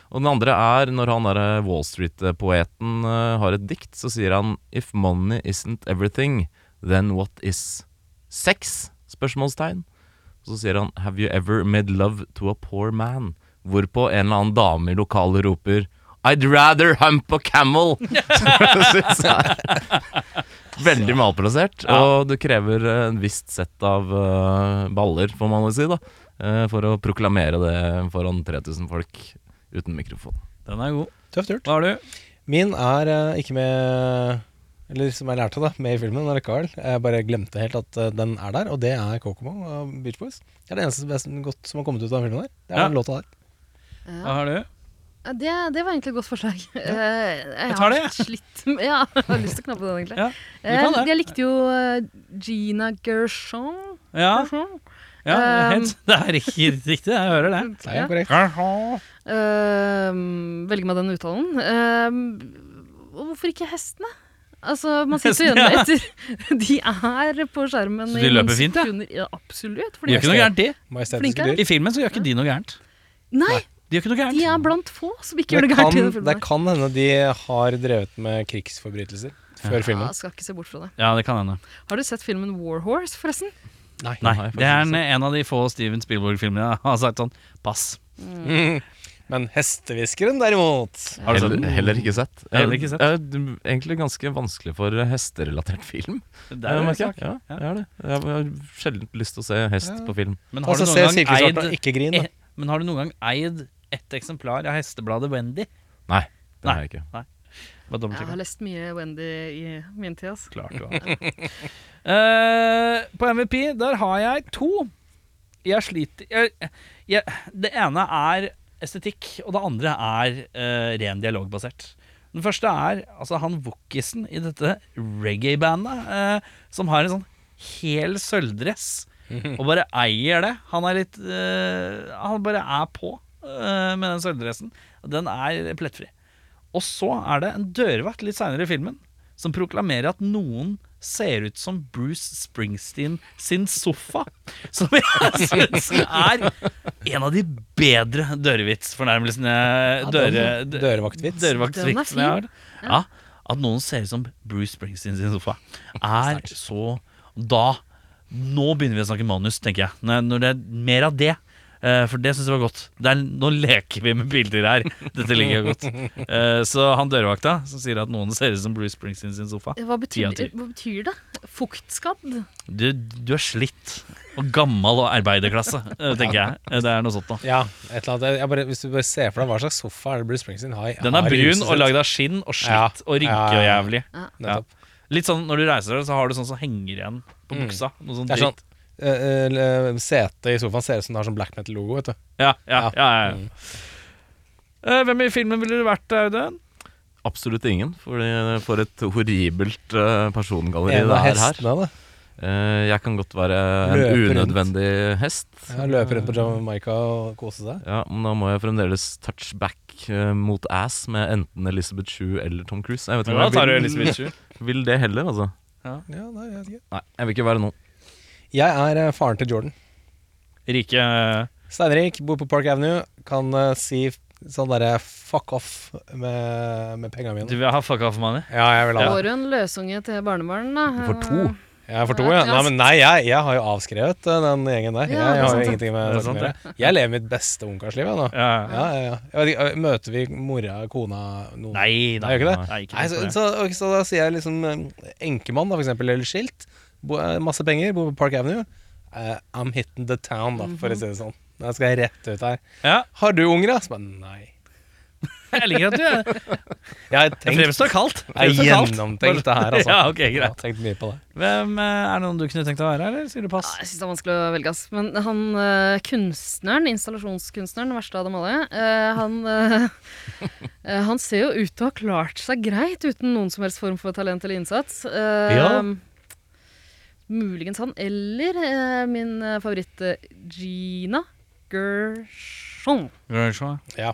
Og den andre er når han der eh, Wall Street-poeten eh, har et dikt, så sier han If money isn't everything, then what is sex? Spørsmålstegn. Og så sier han Have you ever made love to a poor man? Hvorpå en eller annen dame i lokalet roper I'd rather hump a camel! Synes jeg er Veldig malplassert, og det krever eh, en visst sett av eh, baller, får man vel si, da, eh, for å proklamere det foran 3000 folk uten mikrofon. Den er god. Tøft gjort. Hva har du? Min er eh, ikke med Eller som jeg lærte, da, med i filmen allikevel. Jeg bare glemte helt at eh, den er der, og det er Kokomo av Beach Boys. Det er det eneste beste- godt som har kommet ut av den filmen der. Det er Ja. den låta der. Hva har du? Ja, Det, det var egentlig et godt forslag. Eh, Jeg, tar det, har slitt med Ja, jeg har lyst til å knappe den, egentlig. Ja, Eh, kan det. Jeg likte jo eh, Gina Gershon. Ja, Gershon? ja Um, helt, det er riktig, riktig. Jeg hører det. Det er jo korrekt. Eh, velge meg den uttalen. Eh, og hvorfor ikke hestene? Altså, man sitter jo igjen med etter De er på skjermen Så de i noen løper fint, ja? sekunder. Ja, absolutt. For De de gjør ikke noe gærent, de. Flinke Majestetiske er dyr. I filmen så gjør ikke de noe gærent. Nei, De gjør ikke noe de gærent. er blant få som ikke gjør Det det kan, gærent i den det filmen. kan hende de har drevet med krigsforbrytelser før Ja, filmen. skal ikke se bort fra det. Ja, det kan hende. Har du sett filmen War Horse, forresten? Nei, Nei, faktisk Det er en, en av de få Steven Spielberg-filmene jeg har sagt sånn pass. Mm. Mm. Men hestehviskeren, derimot Har du sett Heller, den? heller ikke sett. Heller ikke sett. Eh, eh, du- egentlig ganske vanskelig for eh, hesterelatert film. Det er eh, jo merker sak. jeg. Ja, jeg har det. Jeg har sjelden lyst til å se hest på film. Men har, Altså, du se noen gang Silkesvart og eid, ikke grin. Da. eh, men har du noen gang eid et eksemplar av hestebladet Wendy? Nei, det har jeg ikke. Bare Jeg dobbeltsjekk. har lest mye Wendy i min tid. Altså. Klart du har. Eh, på MVP, der har jeg to. Jeg sliter jeg, jeg, Det ene er estetikk, og det andre er eh, ren dialogbasert. Den første er altså, han wokisen i dette reggae-bandet, eh, som har en sånn hel sølvdress og bare eier det. Han er litt eh, Han bare er på eh, med den sølvdressen. Den er plettfri. Og så er det en dørvakt litt seinere i filmen som proklamerer at noen ser ut som Bruce Springsteen sin sofa. Som jeg syns er en av de bedre dørevitsfornærmelsene døre, dø- Dørevaktvits. Den er Dørevaktvitsen fin. jeg har. Ja, at noen ser ut som Bruce Springsteen sin sofa, er så Da Nå begynner vi å snakke manus, tenker jeg. Når, når det er mer av det. eh, For det syns jeg var godt. Det er, nå leker vi med bilder her. Dette liker jeg godt. Eh, Så han dørvakta som sier at noen ser ut som Bruce Springsteen sin sofa Hva Ti av betyr, ti. hva betyr det? Fuktskadd? Du, du er slitt og gammel og arbeiderklasse, eh, tenker jeg. Eh, Det er noe sånt noe. Ja, et eller annet. Jeg bare, hvis du bare ser for deg hva slags sofa er det Bruce Springsteen har i- Den er har i brun huset og sitt. lagd av skinn Ja. og slitt og rynke og Ja. jævlig. Ja. Nettopp. Litt sånn når du reiser deg, så har du sånn som henger igjen på buksa. Noe sånn Det er sånn dritt. uh, Setet i sofaen ser ut som det har sånn black metal-logo, vet du. Ja, Ja. ja, Mm. ja, ja, ja. Eh, Hvem i filmen ville du vært, Audun? Absolutt ingen, for, for et horribelt eh, persongalleri En det av er her. hestene, da. Eh, jeg kan godt være en Løper rundt. unødvendig hest. Ja, løper rundt på Jamaica og koser seg. Ja, men da må jeg fremdeles touch back eh, mot ass med enten Elizabeth Shue eller Tom Cruise. Jeg vet ikke om Da jeg tar du vil- Elisabeth Shue. Vil det heller, altså. Ja, nei, jeg, vet ikke. Nei, jeg vil ikke være noen. jeg er eh, faren til Jordan. Rike eh, Steinrik, bor på Park Avenue, kan eh, si f- sånn derre fuck off med, med penga Du mine. vil ha fuck off money? Ja, jeg vil ha det. Får du en løsunge til barnebarn, da? Du får Mm. to. Jeg får to, ja. Nei, men nei, jeg, jeg har jo avskrevet eh, den gjengen der. Jeg, Ja, det er har sant, jo ja. ingenting med Det saken er å sant, gjøre. Jeg lever mitt beste ungkarsliv, jeg nå. Ja. ja. Ja, ja, ja. Jeg vet ikke, eh, Møter vi mora, kona, noen Nei, Nei, gjør ikke det? Nei, ikke Nei, så, tenk på det. så, ok, så da sier jeg liksom eh, enkemann, da, for eksempel, eller skilt. Bo, eh, masse penger, bor på Park Avenue. Eh, I'm hitting the town, da, for å si det sånn. Da skal jeg rett ut her. Ja. Har du unger, da? Så bare nei. Jeg liker at du er Jeg har Det tenkt, fremstår kaldt. jeg har gjennomtenkt det her, altså. Ja, ok, greit. Jeg har tenkt mye på det. Hvem, eh, er det noen du kunne tenkt å være, eller sier du pass? Ja, Ah, jeg synes det er vanskelig å velge, ass. Men han eh, kunstneren, installasjonskunstneren, den verste av dem alle, eh, han, eh, eh, han ser jo ut til å ha klart seg greit uten noen som helst form for talent eller innsats. Eh, Ja. Muligens han, eller eh, min eh, favoritt eh, Gina Gershon. Ja.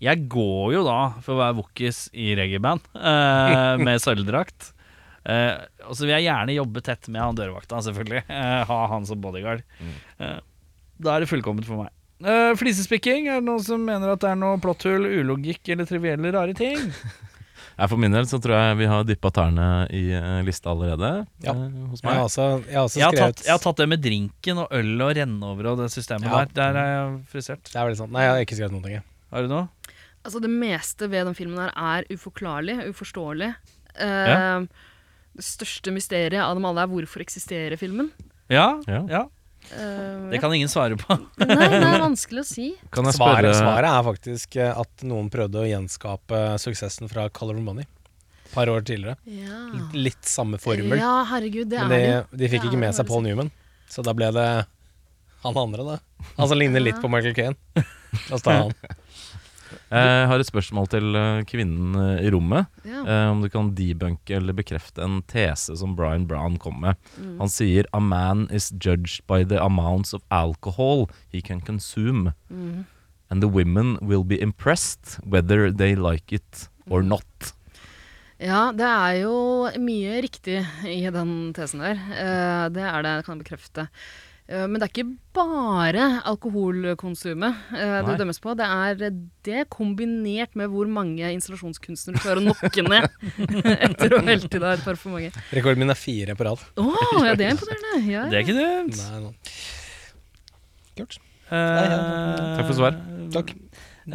Jeg går jo da for å være wokis i reggaeband eh, med sølvdrakt. Eh, og så vil jeg gjerne jobbe tett med han dørvakta, selvfølgelig. Eh, ha han som bodyguard. Eh, da er det fullkomment for meg. Eh, flisespikking, er det noen som mener at det er noe plotthull, ulogikk eller trivielle rare ting? Jeg for min del så tror jeg vi har dyppa tærne i eh, lista allerede. Ja. eh, hos Jeg har meg. også, jeg har også Jeg har, skrevet tatt, jeg har tatt det med drinken og øl og renne over og det systemet Ja. der. Der er jeg frisert. Det er veldig sant. Nei, jeg har ikke skrevet noen ting. jeg. Har du noe? Altså Det meste ved den filmen her er uforklarlig, uforståelig. Eh, Ja. Det største mysteriet av dem alle er hvorfor eksisterer filmen? Ja? Ja. ja. Eh, Det kan ingen svare på. Nei, det er vanskelig å si. Kan jeg spørre Svaret, svaret er faktisk eh, at noen prøvde å gjenskape suksessen fra Color of Money et par år tidligere. Ja. Litt samme formel. Ah. Ja, herregud, det Men er det. de, de fikk Det er ikke det liksom- med seg bare Paul Newman, så da ble det han andre, da. Han som ligner litt på Michael Caine. La oss ta han. Jeg har et spørsmål til eh, kvinnen eh, i rommet. Ja. Eh, om du kan debunke eller bekrefte en tese som Brian Brown kom med. Mm. Han sier 'A man is judged by the amounts of alcohol he can consume'. Mm. And the women will be impressed whether they like it or Mm. not. ja, det er jo mye riktig i den tesen der. Eh, det er det, kan jeg bekrefte. Eh, men det er ikke bare alkoholkonsumet eh, Nei. det dømmes på. Det er det kombinert med hvor mange installasjonskunstnere du klarer å nokke ned etter å helte i deg et par for mange. Rekorden min er fire på rad. Å, ja, det er imponerende. Ja, Det er ikke dumt. Nei, nei. Kult. Eh, Takk for svar. Takk.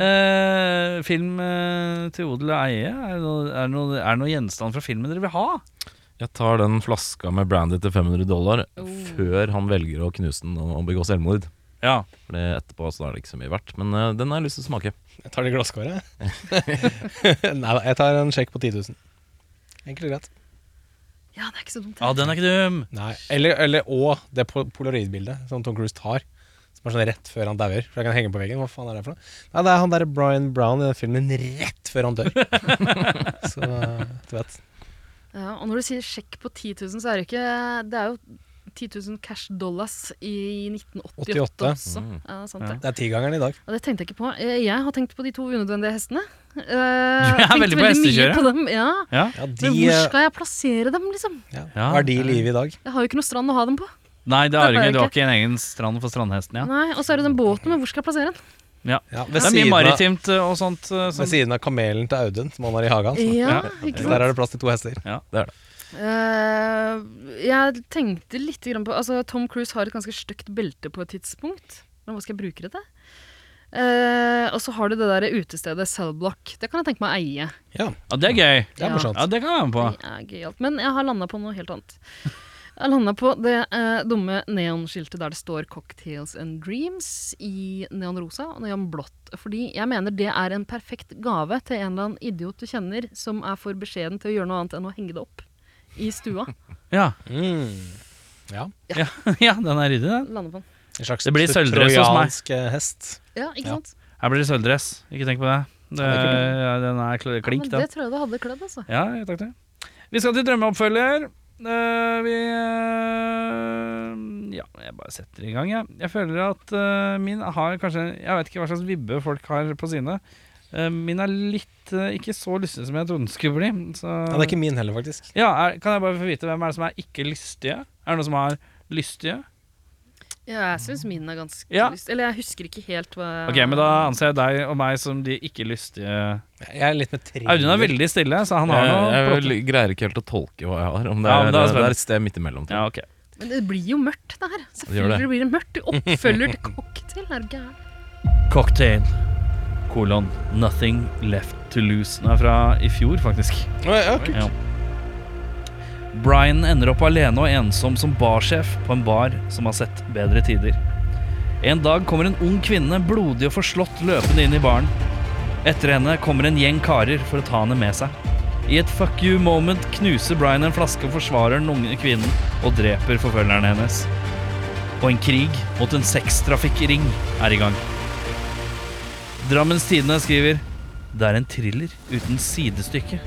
Eh, film eh, til odel og eie, er det noe, er det noe, er det noe gjenstand fra filmen dere vil ha? Jeg tar den flaska med brandy til 500 dollar Oh. før han velger å knuse den og og begå selvmord. Ja. For det etterpå så er det ikke så mye verdt. Men eh, den har jeg lyst til å smake. Jeg tar det glasskåret. nei da, jeg tar en sjekk på 10 000. Enkelt og greit. ja det er ikke så dumt. ja, den er ikke dum. Nei. Eller, eller og det po- polaroidbildet som Tom Cruise tar. Som er sånn rett før han dauer. For jeg kan henge på veggen. Hva faen er det for noe? Nei, det er han derre Brian Brown i den filmen rett før han dør. så eh, du vet. Ja, og når du sier sjekk på 10 000, så er det ikke Det er jo 10 000 cash dollars i 1988 88. også. Mm. Ja, sant det. Det er tigangeren i dag. Og det tenkte jeg ikke på. Eh, Jeg har tenkt på de to unødvendige hestene. Eh, Du er veldig på hestekjøret. På dem. Ja. Ja. Ja, de, Men hvor eh, skal jeg plassere dem, liksom? ja, Ja. er de i live i dag? Jeg har jo ikke noe strand å ha dem på. Nei, det har har du jeg ikke. Du har ikke. ikke en egen strand for strandhesten, ja. Nei, Og så er det den båten, men hvor skal jeg plassere den? ja. Ja, ved, Det er mye siden av, maritimt eh, og sånt. eh, ved Som, siden av kamelen til Audun, som han har i hagen. hans. Ja, Ja. ikke Så sant? der er det plass til to hester. Eh, jeg tenkte litt grann på Altså, Tom Cruise har et ganske stygt belte på et tidspunkt. Men hva skal jeg bruke det til? Eh, og så har du det der utestedet Cellblock. Det kan jeg tenke meg å eie. ja, det er gøy. Det er Ja. morsomt. Ja, det kan jeg være med på. Det er gøyalt. Men jeg har landa på noe helt annet. Jeg landa på det eh, dumme neonskiltet der det står 'Cocktails and Dreams' i neonrosa og neonblått. Fordi jeg mener det er en perfekt gave til en eller annen idiot du kjenner som er for beskjeden til å gjøre noe annet enn å henge det opp i stua. Ja, Mm. ja den er ryddig, den. Landa på den. En slags Det blir sølvdress hos meg. trojansk eh, hest. Ja, ikke Ja. sant? Her blir det sølvdress. Ikke tenk på det. det Ja, det er kult. ja, den er kl- klink, ja, men den. det tror jeg det hadde kledd, altså. Ja, ja, takk det. Vi skal til drømmeoppfølger. Eh, vi eh, Ja, jeg bare setter i gang, jeg. Jeg føler at eh, min har kanskje Jeg vet ikke hva slags vibbe folk har på sine. Eh, min er litt eh, ikke så lystig som jeg trodde den skulle bli. Så Ja, det er ikke min heller, faktisk. Ja, er, Kan jeg bare få vite hvem er det som er ikke lystige? Er det noen som er lystige? Ja, jeg syns min er ganske Ja. lyst. Eller jeg husker ikke helt hva Ok, Eh. men Da anser jeg deg og meg som de ikke lystige. Jeg er litt med tre. Audun er veldig stille, så han har Jeg, jeg noe vel- plott. greier ikke helt å tolke hva jeg har. Om det, Ja, er, men det det, er er, spennende. et sted midt imellom. tror jeg. Ja, ok Men det blir jo mørkt, det her. gjør Selvfølgelig det. blir det mørkt. Du oppfølger til cocktail. Er du gæren? Cocktail, kolon, nothing left to lose. Den er fra i fjor, faktisk. Ja. Brian ender opp alene og ensom som barsjef på en bar som har sett bedre tider. En dag kommer en ung kvinne, blodig og forslått, løpende inn i baren. Etter henne kommer en gjeng karer for å ta henne med seg. I et fuck you moment knuser Brian en flaske og forsvarer den unge kvinnen og dreper forfølgeren hennes. Og en krig mot en sextrafikkring er i gang. Drammens Tidende skriver Det er en thriller uten sidestykke.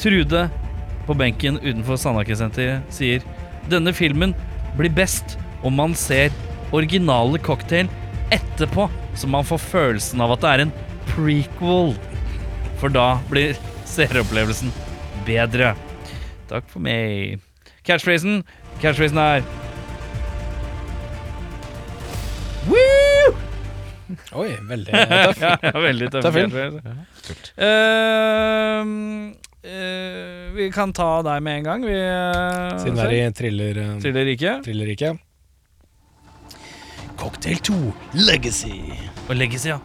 Trude på benken utenfor Sandaker-senteret sier Denne filmen blir best om man ser originale cocktail etterpå, så man får følelsen av at det er en prequel. For da blir seeropplevelsen bedre. Takk for meg. Catchphrasen Catchphrasen er Oi, veldig eh, tøff. ja, veldig tøff. Tøff film. catchphrase. Ehm, eh, vi kan ta deg med en gang. Vi, eh, Siden det er i thriller, eh, til det rike. thrillerriket. Cocktail 2 Legacy. Og legacy, ja.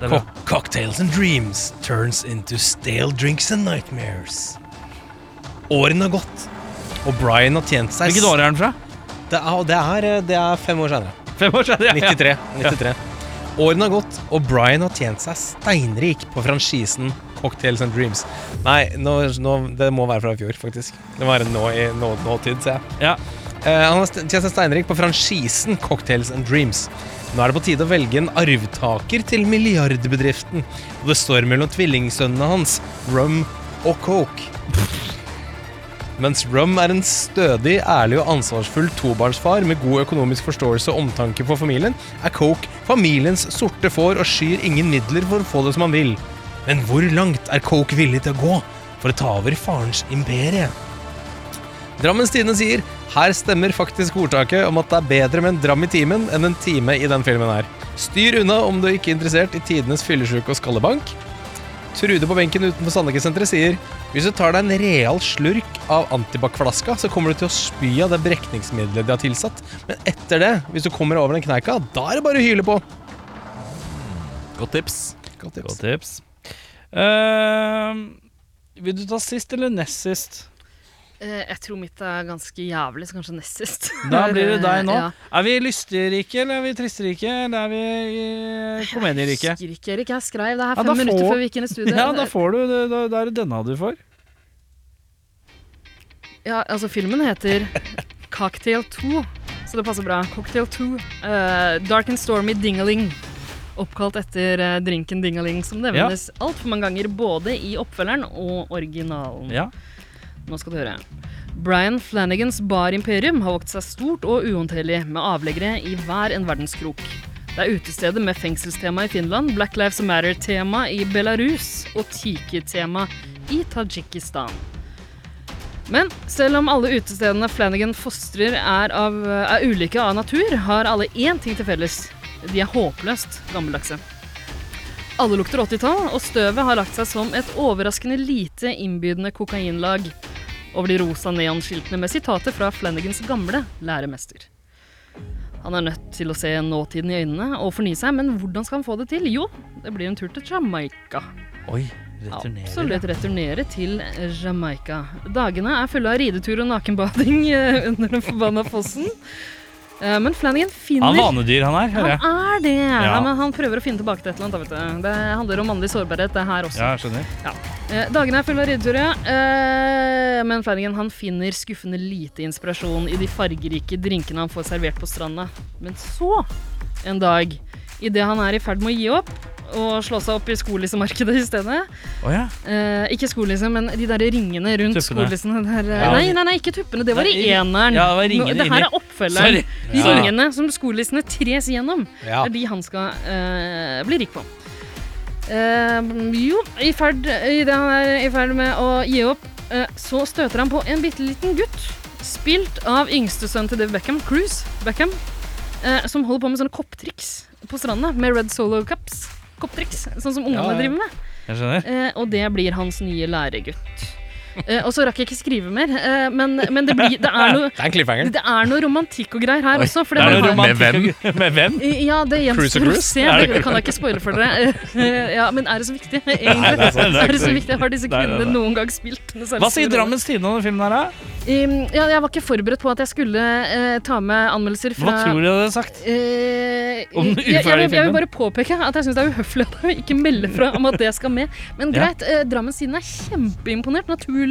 Det er Co bra. cocktails and dreams turns into stale drinks and nightmares. Årene har gått, og Brian har tjent seg Hvilket år er den fra? Det er, det er, eh, det er fem år senere. Fem år siden? Ja, ja. 93. 93. Årene har gått, og Brian har tjent seg steinrik på franchisen Cocktails and Dreams. Nei, nå, nå, det må være fra i fjor, faktisk. Det må være nå i nå, nåtid, ser jeg. Ja. Eh, han har st- tjent seg steinrik på franchisen Cocktails and Dreams. Nå er det på tide å velge en arvtaker til milliardbedriften, og det står mellom tvillingsønnene hans, Rum og Coke. Mens Rum er en stødig, ærlig og ansvarsfull tobarnsfar med god økonomisk forståelse og omtanke for familien, er Coke familiens sorte får og skyr ingen midler for å få det som han vil. Men hvor langt er Coke villig til å gå for å ta over farens imperie? Drammens Tidende sier her stemmer faktisk ordtaket om at det er bedre med en dram i timen enn en time i den filmen her. Styr unna om du ikke er interessert i tidenes fyllesyke og skallebank. Trude på benken utenfor Sandekesenteret sier hvis du tar deg en real slurk av antibac-flaska, så kommer du til å spy av det brekningsmiddelet de har tilsatt. Men etter det, hvis du kommer over den kneika, da er det bare å hyle på. Godt tips. Godt Godt tips. Ehm, vil du ta sist eller nest sist? Eh, jeg tror mitt er ganske jævlig, så kanskje nest sist. Da blir det deg nå. Ja. Er vi lysterike, eller er vi tristerike, eller er vi eh, komedierike? Husker ikke, Erik. Jeg skrev det her Ja, fem da minutter får- før vi gikk inn i studio. Ja, da får du det- Da, da er det denne du får. Ja, altså filmen heter Cocktail 2, så det passer bra. Cocktail 2. eh, dark and stormy dingaling. Oppkalt etter eh, drinken dingaling, som nevnes alt altfor mange ganger både i oppfølgeren og originalen. Ja. Nå skal du høre. Brian Flanagans barimperium har vokst seg stort og uhåndterlig, med avleggere i hver en verdenskrok. Det er utestedet med fengselstema i Finland, Black Lives Matter-tema i Belarus og Tiki-tema i Tadsjikistan. Men selv om alle utestedene Flanagan fostrer er, av, er ulike av natur, har alle én ting til felles. De er håpløst gammeldagse. Alle lukter 80-tall, og støvet har lagt seg som et overraskende lite innbydende kokainlag over de rosa neonskiltene med sitater fra Flanagans gamle læremester. Han er nødt til å se nåtiden i øynene og fornye seg, men hvordan skal han få det til? Jo, det blir en tur til Jamaica. Oi, Absolutt returnere til Jamaica. Dagene er fulle av ridetur og nakenbading eh, under den forbanna fossen. Eh, Men Flanagan finner Han er vanedyr, han her, hører jeg. Han er det! Ja. Nei, men han prøver å finne tilbake til et eller annet. da, Vet du. Det handler om mannlig sårbarhet, det her også. Ja, jeg skjønner. Eh, Dagene er fulle av ridetur, ja. Eh, Men Flanagan han finner skuffende lite inspirasjon i de fargerike drinkene han får servert på stranda. Men så, en dag, idet han er i ferd med å gi opp og slå seg opp i skolissemarkedet i stedet, Å ja. Eh, ikke skolisse, men de der ringene rundt Tuppene. skolissene. Der, eh, Ja. Nei, nei, nei, ikke tuppene. Det var i Nei, i- eneren. ja, det var ringene Nå- det her inni. er oppfølgeren. Sorry. De Ja. ringene som skolissene tres gjennom, Ja. er de han skal eh, bli rik på. Eh, jo, i ferd, i det han er i ferd med å gi opp, eh, så støter han på en bitte liten gutt. Spilt av yngstesønnen til Dave Beckham, Cruise Beckham, eh, som holder på med sånne kopptriks på stranda med Red Solo Cups. Kopptriks, sånn som ungene Ja, ja. driver med. Jeg skjønner. Eh, og det blir hans nye læregutt. Eh, og så rakk jeg ikke skrive mer, eh, men, men det, blir, det, er noe, Det er en cliffhanger. det er noe romantikk og greier her også. For det Det er noe har- Med romantikk og- Med hvem? ja, det Cruise og gjenstår å Cruise? se. Er Det det- kan jeg ikke spoile for dere. Eh, ja, men er det så viktig, egentlig? det er sant. er det så viktig? Har disse Nei, nei, nei. kvinnene noen gang spilt noe særlig Hva sier stor rolle? Drammens Tidende om denne filmen her, da? Ehm, ja, jeg var ikke forberedt på at jeg skulle eh, ta med anmeldelser Hva fra tror du hadde sagt? Eh, Om den uferdige jeg, jeg, vil- jeg vil filmen. bare påpeke at jeg syns det er uhøflig at jeg ikke melder fra om at det skal med. Men Ja. greit, eh, Drammens Tidende er kjempeimponert, naturligvis.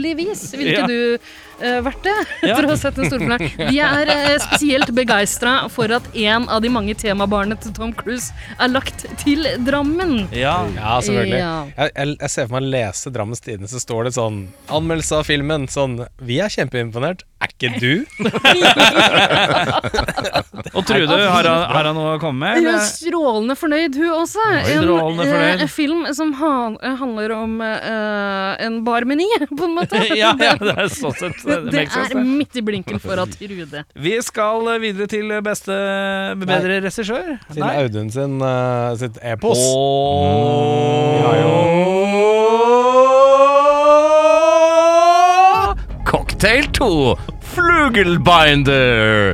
Ville Ja. ikke du eh, vært det? Ja. Etter å ha sett den store finalen. De er eh, spesielt begeistra for at en av de mange temabarene til Tom Cruise er lagt til Drammen. Ja. Ja, selvfølgelig. Ja. Jeg, jeg, jeg ser for meg å lese Drammens Tidende, så står det sånn Anmeldelse av filmen. Sånn Vi er kjempeimponert. Er ikke du? Og Trude, altså, har han, har han noe å komme med? Hun eller? er strålende fornøyd, hun også. En strålende eh, fornøyd. film som han- handler om eh, en barmeny, på en måte. Ja, ja, det er sånn sett. Det, Det det makes sense, er det. midt i blinken for at Rude Vi skal eh, videre til beste bedre regissør. Til Audun sin, eh, sitt epos. Åh. Ja, Cocktail 2 Flugelbinder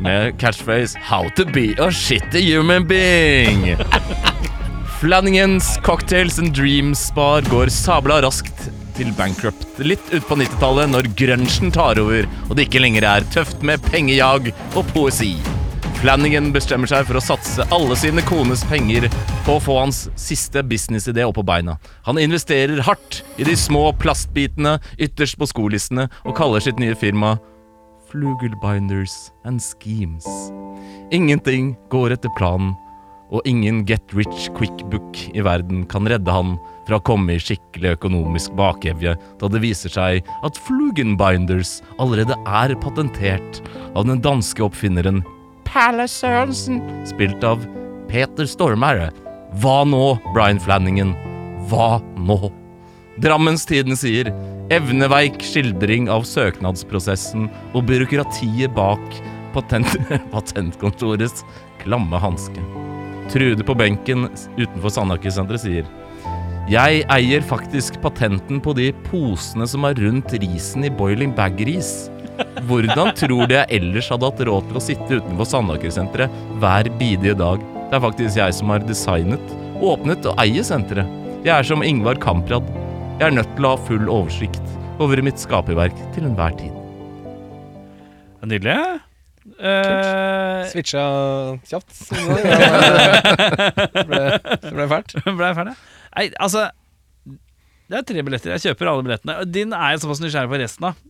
Med catchphrase How to be a shitty human being Flanningens Cocktails and Dreams Bar Går sabla raskt til bankrupt Litt ut på 90-tallet når grønsjen tar over Og det ikke lenger er tøft med pengejag og poesi Flanagan bestemmer seg for å satse alle sine kones penger på å få hans siste businessidé opp på beina. Han investerer hardt i de små plastbitene ytterst på skolissene og kaller sitt nye firma Flugelbinders and Schemes. Ingenting går etter planen, og ingen get rich quick book i verden kan redde han fra å komme i skikkelig økonomisk bakevje, da det viser seg at Flugenbinders allerede er patentert av den danske oppfinneren Palle Sørensen, spilt av Peter Stormare. Hva nå, Brian Flanningen? Hva nå? Drammens Tidende sier evneveik skildring av søknadsprosessen og byråkratiet bak patent patentkontorets klamme hanske. Trude på benken utenfor Sandaker-senteret sier jeg eier faktisk patenten på de posene som er rundt risen i Boiling Bag-ris. Hvordan tror du jeg ellers hadde hatt råd til å sitte utenfor Sandaker-senteret hver bidige dag? Det er faktisk jeg som har designet, åpnet og eier senteret. Jeg er som Ingvar Kamprad. Jeg er nødt til å ha full oversikt over mitt skaperverk til enhver tid. Nydelig. Eh, Switcha kjapt. Så Det ble, det ble fælt. Eh, ble jeg ferdig? Nei, altså Det er tre billetter. Jeg kjøper alle billettene. Din er jeg såpass nysgjerrig på resten av.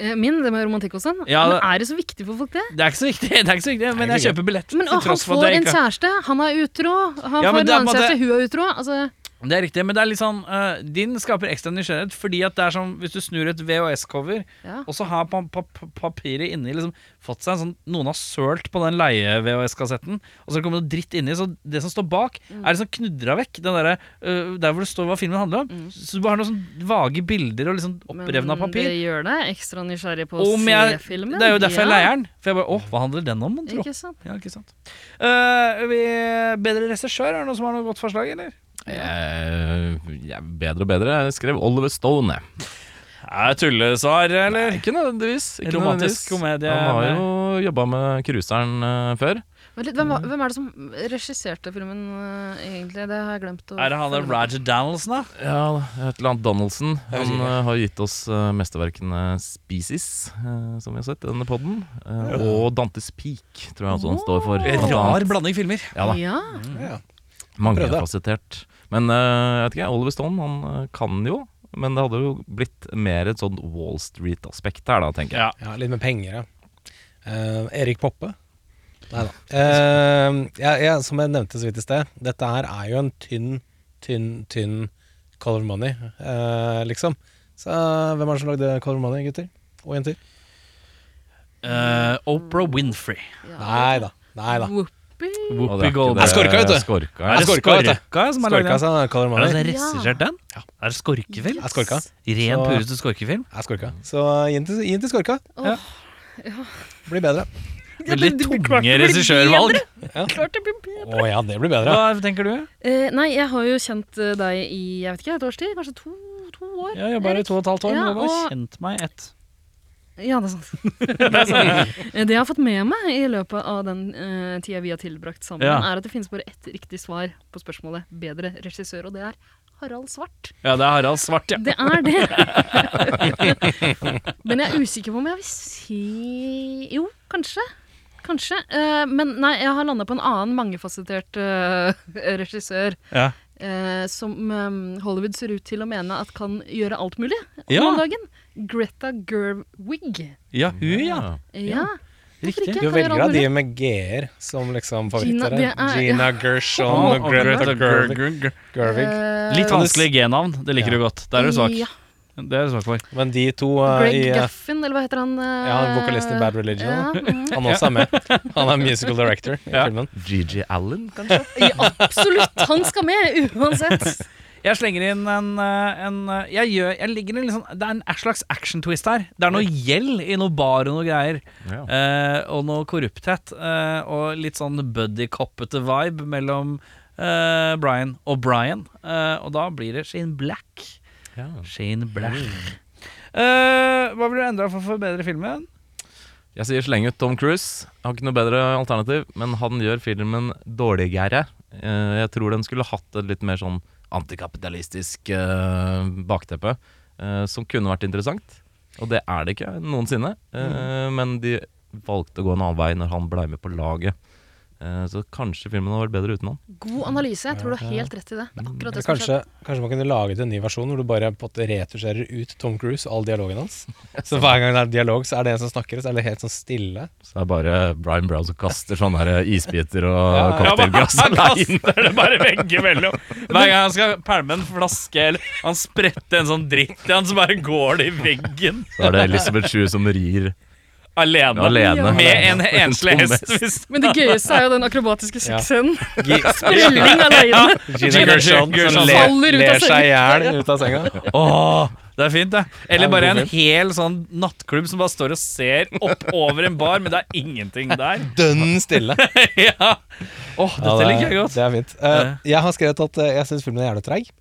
Eh, Min, det med romantikk og sånn. Ja, Men det- er det så viktig for folk, det? Det er ikke så viktig, det er ikke så viktig men jeg kjøper billett. Men til å, Han tross for at får jeg en ikke- kjæreste, han er utro. Han Ja, får men en det er annen på en måte- kjæreste, hun er utro. Altså, Det er riktig, men det er litt sånn eh, Din skaper ekstra nysgjerrighet, fordi at det er som hvis du snur et VHS-cover, Ja. og så har pa pa pa- papiret inni liksom fått seg en sånn Noen har sølt på den leie-VHS-kassetten, og så kommer det noe dritt inni, så det som står bak, er liksom knudra vekk. Den derre, eh, der hvor det står hva filmen handler om. Så du bare har noen sånn vage bilder og liksom opprevna papir. det gjør deg ekstra nysgjerrig på å Om se jeg, filmen. det er jo derfor jeg Ja, leier den. For jeg bare Å, hva handler den om, mon tro? Ikke sant? Ja, ikke sant. Eh, vi, bedre regissør, er det noen som har noe godt forslag, eller? Eh, ja, bedre og bedre. Jeg skrev Oliver Stone. jeg. Er tullesvar, eller? Ikke nødvendigvis. Ikke Romantisk komedie eh, Han har jo jobba med Cruiseren eh, før. Men litt, hvem, var- hvem er det som regisserte filmen, eh, egentlig? Det har jeg glemt å Er det han der følge med Roger Donaldson, da? Ja, et eller annet Donaldson. Han eh, har gitt oss eh, mesterverkene Species, eh, som vi har sett i denne podden. eh, og Dantes Peak, tror jeg også han står for. Blant annet. Rar blanding filmer. Ja da, på. Ja, Mm. Mangefasettert. Men eh, jeg vet ikke, Oliver Stone han eh, kan jo, men det hadde jo blitt mer et sånn Wall Street-aspekt her, da, tenker jeg. Ja. Ja, litt med penger, ja. Eh, Erik Poppe? Nei da. Eh, ja, ja, som jeg nevnte så vidt i sted, dette her er jo en tynn, tynn, tynn Color Money, eh, liksom. Så eh, hvem er det som lagde Color Money, gutter? Og jenter? Eh, Oprah Winfrey. Nei da. Nei da. Whoopi. Og det er Whoopi ikke Goldberg. det- Jeg skorka, vet du. Skorka, Er ja. det Skorka, vet du. Skorka som har lagd Skorka altså. den? sa Color Er det Altså, Money. regissert den? Er det skorkefilm? Jeg skorka. Ren, Så- pureste skorkefilm? Jeg skorka. Så eh, gi den til- gi den til Skorka. Åh. Blir bedre. Veldig det- det- det- tunge klart det blir regissørvalg. Klart det blir bedre. Å ja, det blir bedre. Hva tenker du? Eh, nei, jeg har jo kjent eh, deg i jeg vet ikke, et års tid. Kanskje to, to år. Jeg jobba her i Erik. to og et halvt år, Ja, men du har og- kjent meg ett. Ja, det er sant. Det, er sant. Eh, det jeg har fått med meg i løpet av den uh, tida vi har tilbrakt sammen, Ja. er at det finnes bare ett riktig svar på spørsmålet 'bedre regissør', og det er Harald Svart. Ja, det er Harald Svart, ja. Det er det! Men jeg er usikker på om jeg vil si Jo, kanskje. Kanskje. Eh, men nei, jeg har landa på en annen mangefasettert eh, regissør. Ja. eh, som eh, Hollywood ser ut til å mene at kan gjøre alt mulig Ja. om dagen. Greta Gerwig. Ja, hun, ja. Ja, hvorfor Riktig. ikke? Du Kan gjøre velger alt av de mulig. med g-er som liksom Gina, favoritter. det er- her. Gina Gershon Og og Greta Greta Gerwig. Gerwig. Gerwig. Eh, Litt vanskelig G-navn. Det liker Ja. du godt. Der er du svak. Ja. Det er du svak for. Men de to eh, Greg i, eh, Guffin, eller hva heter han? eh, Ja, han er vokalisten i Bad Religion, Ja, mhm. Han også er med. Han er musical director i Ja. filmen. GG Allen, kanskje? ja, absolutt! Han skal med, uansett. Jeg slenger inn en, eh, en eh, jeg gjør, jeg ligger i en litt sånn- Det er en slags action-twist her. Det er noe gjeld i noe bar og noe greier. Ja. Eh, og noe korrupthet. Eh, og litt sånn buddy-coppete vibe mellom eh, Brian og Brian. Eh, og da blir det Shane Black. Ja. Shane Black. Eh, hva ville du endra for å forbedre filmen? Jeg sier sleng ut Tom Cruise. Jeg Har ikke noe bedre alternativ, men han gjør filmen dårligere. Eh, Jeg tror den skulle hatt et litt mer sånn antikapitalistisk eh, bakteppe, eh, som kunne vært interessant. Og det er det ikke noensinne. Eh, Men de valgte å gå en annen vei når han blei med på laget. Eh, Så kanskje filmen hadde vært bedre uten han. God analyse. Jeg tror du har helt rett i det. Det er akkurat det Eller som skjedde. Kanskje, kanskje man kunne laget en ny versjon hvor du bare på en måte retusjerer ut Tom Cruise og all dialogen hans. Så hver gang det er dialog, så er det en som snakker, og så er det helt sånn stille. Så det er bare Brian Brown som kaster sånne her isbiter og Ja, ja. cocktailglass aleine. kaster det bare veggimellom. Hver gang han skal pælme en flaske eller han spretter en sånn dritt i han, så bare går det i veggen Så er det Elizabeth Shue som rir alene. alene. Med en enslig Tom hest. Hest. Hvis Men det gøyeste er jo den akrobatiske Ja. sexscenen. Gi- Sprelling aleine. Gina Gershon Gershon som ler, faller ut av ler seg i senga. hjel ut av senga. Åh, det er fint, det. Eller Ja, bare en god hel sånn nattklubb som bare står og ser opp over en bar, men det er ingenting der. Dønn stille. ja. Åh, Ja, dette det er- liker jeg godt. Det er fint. Eh, Ja. jeg har skrevet at eh, jeg syns filmen er jævlig treig.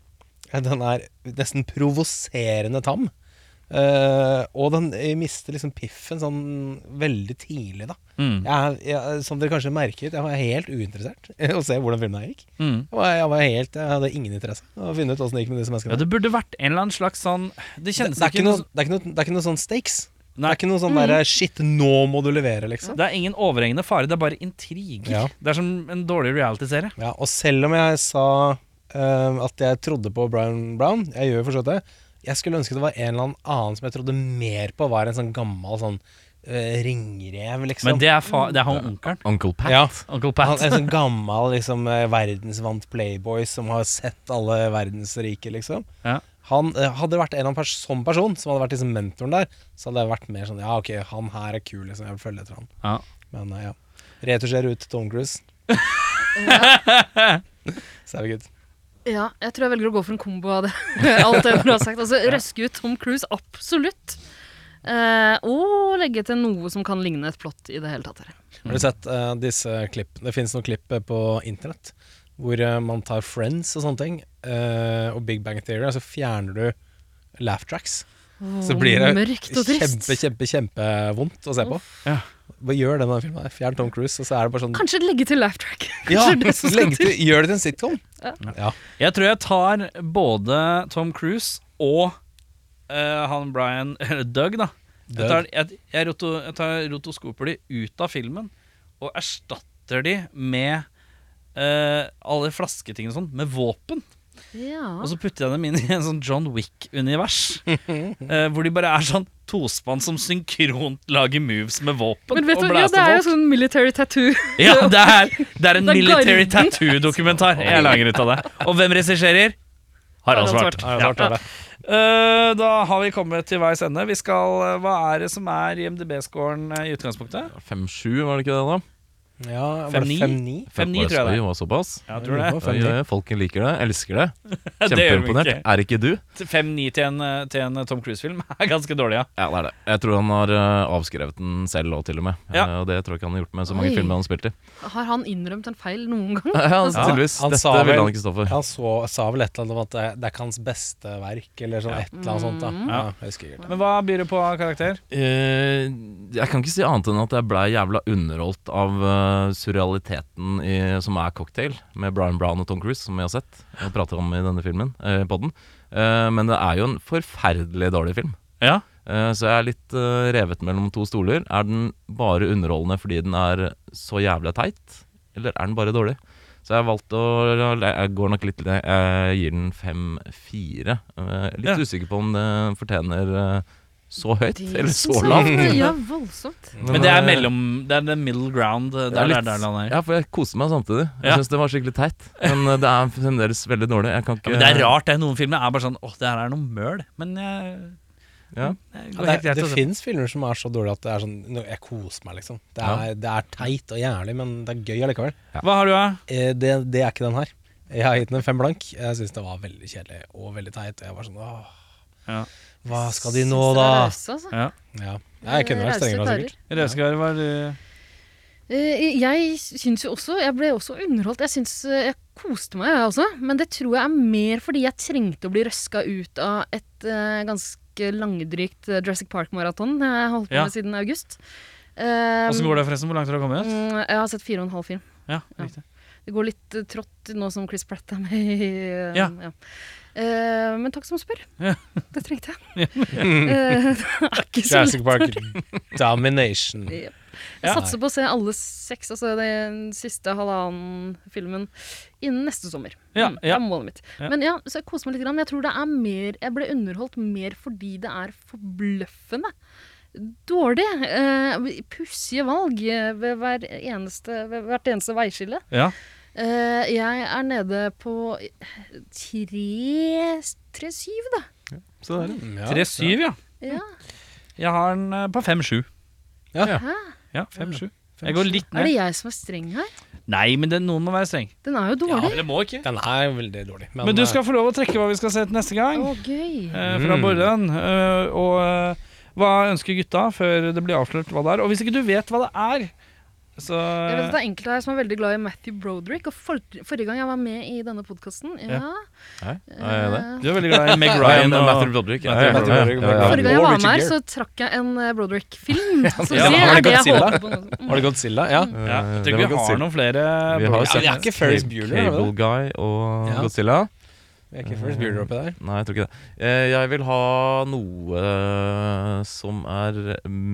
Eh, Den er nesten provoserende tam. Eh, og den eh, mister liksom piffen sånn veldig tidlig, da. Mm. Jeg, er- jeg, som dere kanskje merket, jeg var helt uinteressert i å se hvordan filmen her gikk. Mm. Jeg, var, jeg, var helt, jeg hadde ingen interesse av å finne ut åssen det gikk med disse menneskene. Ja, det burde vært en eller annen slags sånn Det det, kjennes det, er ikke noe, som- det, er ikke noe, det er ikke noe sånn stakes. Nei. Mm. Det er ikke noe sånn derre shit, nå må du levere, liksom. Det er ingen overhengende fare, det er bare intriger. Ja. Det er som en dårlig reality-serie. Ja, og selv om jeg sa eh, at jeg trodde på Brian Brown, jeg gjør jo forstått det, jeg skulle ønske det var en eller annen annen som jeg trodde mer på var en sånn gammel sånn eh, ringrev, liksom. Men det er, fa det er han onkelen. Uncle Pat. ja. Uncle Han Pat. er en sånn gammel liksom, eh, verdensvant playboy som har sett alle verdens rike, liksom. Ja. Han eh, Hadde det vært en eller annen pers sånn person som hadde vært liksom, mentoren der, så hadde jeg vært mer sånn Ja, ok, han her er kul, liksom. Jeg vil følge etter han. Ja. Men eh, ja. Retusjer ut Tom Cruise. så er vi good. Ja, jeg tror jeg velger å gå for en kombo av det. Alt det du har sagt. Altså, Røske ut Tom Cruise, absolutt. Eh, og legge til noe som kan ligne et plott i det hele tatt. her. Har du sett eh, disse klipp? Det finnes noen klipp eh, på internett hvor eh, man tar Friends og sånne ting, eh, og Big Bang Theory, og så fjerner du laugh tracks. Så Åh, blir det mørkt og trist. kjempe, kjempe, kjempevondt å se på. Ja. Hva gjør den filmen her? Fjern Tom Cruise, og så er det Mm. bare sånn Kanskje legge til laugh track. ja, Kanskje det som skal legg til, Gjør det til en sitcom. Ja. Jeg tror jeg tar både Tom Cruise og eh, han Brian Eller Doug, da. Jeg Doug. tar, jeg, jeg, roto, jeg tar rotoskoper de ut av filmen og erstatter de med eh, alle flasketingene og sånn, med våpen. Ja. Og så putter jeg dem inn i en sånn John Wick-univers. eh, hvor de bare er sånn tospann som synkront lager moves med våpen. Men vet du, ja, og det blaster er jo folk. sånn military tattoo. Ja, det er, det er en Det er military garden. tattoo-dokumentar. Jeg lager ut av det. Og hvem regisserer? Harald Harald Svart. Svart. Ja. Eh, Da har vi kommet til veis ende. Vi skal, eh, hva er det som er IMDb-scoren eh, i utgangspunktet? 5-7, var det ikke det, da? ja, var det 5-9? 5-9? 5-9, tror jeg det Oi, er. var såpass. Ja, jeg tror det. Det var Oi, 5-9. oi, Folken liker det. Elsker det. Det gjør vi Kjempeimponert. ikke. Er ikke du? 5-9 til, en- eh, til en Tom Cruise-film er ganske dårlig, ja. Ja, det er det. Jeg tror han har eh, avskrevet den selv òg, til og med. Ja. Eh, Og det tror jeg ikke han har gjort med så mange Oi. filmer han har spilt i. Har han innrømt en feil noen gang? Ja, altså, Ja, tydeligvis. han Dette sa vel- ville han ikke stå for. Han så, sa vel et eller annet om at det, det er ikke hans beste verk, eller sånn, et eller annet sånt. Da. Ja, jeg husker ikke. Men hva byr Mm. det på av karakter? Eh, jeg kan ikke si annet enn at jeg blei jævla underholdt av eh, surrealiteten i, som er Cocktail, med Brian Brown og Tom Cruise, som vi har sett og pratet om i denne filmen, eh, podden. Eh, men det er jo en forferdelig dårlig film. Ja. Eh, så jeg er litt eh, revet mellom to stoler. Er den bare underholdende fordi den er så jævla teit, eller er den bare dårlig? Så jeg har valgt å Jeg går nok litt ned. Jeg gir den fem-fire. Litt Ja. usikker på om det fortjener eh, så høyt, Det eller så synes jeg- lavt. Ja, voldsomt. Men det er eh, mellom Det er the middle ground. Det det er er litt- der han er. Ja, for jeg koser meg samtidig. Ja. Jeg synes det var skikkelig teit. Men eh, det er fremdeles veldig dårlig. Jeg kan ikke Ja, men det er rart, det. Noen filmer er bare sånn Åh, det her er noe møl. Men jeg, Ja. jeg Ja, det går helt er, greit det å se. fins filmer som er så dårlige at det er sånn nå- Jeg koser meg, liksom. Det er, det er teit og jævlig, men det er gøy allikevel. Hva har du, da? Eh, det, det er ikke den her. Jeg har gitt den en fem blank. Jeg syns det var veldig kjedelig og veldig teit. Og jeg var sånn åh, Ja. Hva skal de nå, Synes da? dere er rause, altså? Ja. Ja. ja, jeg kunne vært Rause strengere, karer. sikkert. Rødskar, hva er du? Eh, Jeg syns jo også Jeg ble også underholdt. Jeg syns eh, jeg koste meg, jeg også. Men det tror jeg er mer fordi jeg trengte å bli røska ut av et eh, ganske langdrygt eh, Jurassic Park-maraton jeg holdt på Ja. med siden august. Eh, Åssen går det, forresten? Hvor langt har du kommet? mm, Jeg har sett fire og en halv film. Ja, Ja. riktig. Det går litt eh, trått nå som Chris Pratt er med i eh, Ja. Eh, men takk som spør. Ja. Det trengte jeg. Eh, det er ikke så lett. Jurassic Park Domination. Jeg Ja. satser på å se alle seks, altså den siste halvannen filmen, innen neste sommer. Ja, Mm, ja. Det er målet mitt. Ja. Men ja, så jeg koser meg litt. Grann. men Jeg tror det er mer Jeg ble underholdt mer fordi det er forbløffende dårlig. Eh, Pussige valg eh, ved, hver eneste, ved hvert eneste veiskille. Ja. Eh, jeg er nede på tre tre syv, da. Så det er det. Mm, Ja. 3-7, ja. Ja. Mm. Jeg har den eh, på 5-7. Ja. Hæ? Ja, 5-7. Jeg går litt Er ned. det jeg som er streng her? Nei, men det, noen må være streng. Den er jo dårlig. det må ikke. Den er veldig dårlig. Men, Men du eh, skal få lov å trekke hva vi skal se til neste gang. Å, gøy. eh, fra Mm. Bordan. Eh, og eh, hva ønsker gutta før det blir avslørt hva det er? Og hvis ikke du vet hva det er, så Jeg vet at det er enkelte her som er veldig glad i Matthew Broderick. Og for, forrige gang jeg var med i denne podkasten ja, Nei, er jeg det? eh, Du er veldig glad i Meg Nei, Ryan men og Matthew Broderick. Ja, Matthew ja, ja, Broderick, ja, ja. Broderick. Forrige gang jeg Og var Richard med her, Gere. så trakk jeg en eh, Broderick-film. Så ja, var det er det det jeg Godzilla? håper på. nå. Mm. Var det eh, Godzilla? Ja. ja, Jeg Det var tror ikke vi Godzilla. har noen flere. Vi har jo Ja, sett det er ikke Ferris Cable- Bueller, er det det? Cable Guy og Ja. Godzilla. Vi er ikke First Bureau oppi der. Nei, jeg tror ikke det. Eh, Jeg vil ha noe eh, som er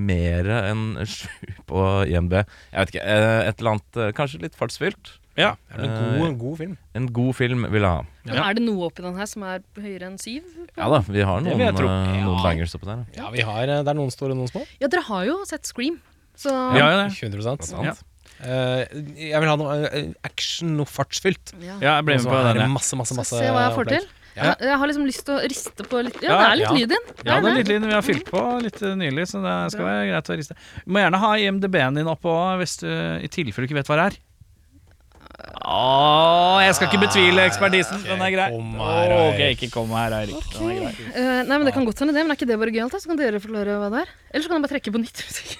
mer enn sju på IMB. Jeg vet ikke. eh, Et eller annet eh, kanskje litt fartsfylt. Ja. Det er vel en god, en god film. En god film vil jeg ha. Men er det noe oppi den her som er høyere enn syv? Ja da, vi har Det noen, vil jeg tro. eh, noen Ja. bangers oppi der. Ja, vi har, eh, Det er noen store og noen små. Ja, dere har jo sett Scream. Så Vi har jo det. 100 Sant? Ja. Eh, Jeg vil ha noe eh, action, noe fartsfylt. ja. Ja, jeg ble med Så på er den. det jeg. Masse, masse, Skal masse se hva jeg får opplegg. til. Jeg, har- jeg har liksom lyst til å riste på litt Ja, Ja, det er litt ja. lyd i den. Ja, det er litt lyd vi har fylt på litt eh, nylig, så det skal være greit å riste. Du må gjerne ha IMDb-en din oppå hvis du i tilfelle du ikke vet hva det er. Åh, jeg skal ikke betvile ekspertisen. Den er grei. Ikke kom her, Åh, Ok, Eirik. ikke kom her, Eirik. Den er grei. Eh, nei, men Det kan godt hende, det. Men er ikke det bare gøyalt? da? Så kan dere forklare hva det er. Eller så kan jeg bare trekke på nytt. hvis ikke.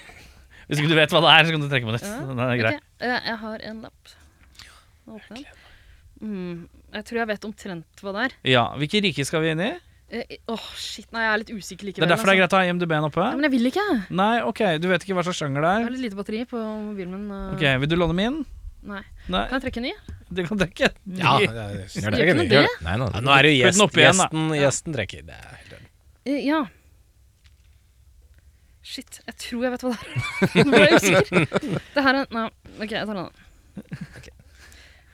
Hvis ikke du vet hva det er, så kan du trekke på nytt. Ja, Den er grei. Ok, eh, jeg har en lapp. Nå åpner jeg den. Mm, jeg tror jeg vet omtrent hva det er. Ja, Hvilke rike skal vi inn i? Eh, i- Åh, shit. Nei, jeg er litt usikker likevel. Det er derfor det er altså. greit å ha IMDb-en oppe. Ja, men jeg vil ikke. jeg. Nei, ok, du vet ikke hva slags sjanger det Jeg har er. litt lite batteri på mobilen min. eh, Ok, Vil du låne min? Nei. Nei, Kan jeg trekke en ny? det kan du ikke. Ja, det er- Gjør Gjør ikke noe Gjør det. Nei, nei, Ja, nå er det jo Putt den gjest, opp igjen, da. gjesten, gjesten trekker. Det er helt enig. Eh, ja. Shit, jeg tror jeg vet hva det er. Nå ble jeg usikker. Det her er Nei, OK, jeg tar den. andre.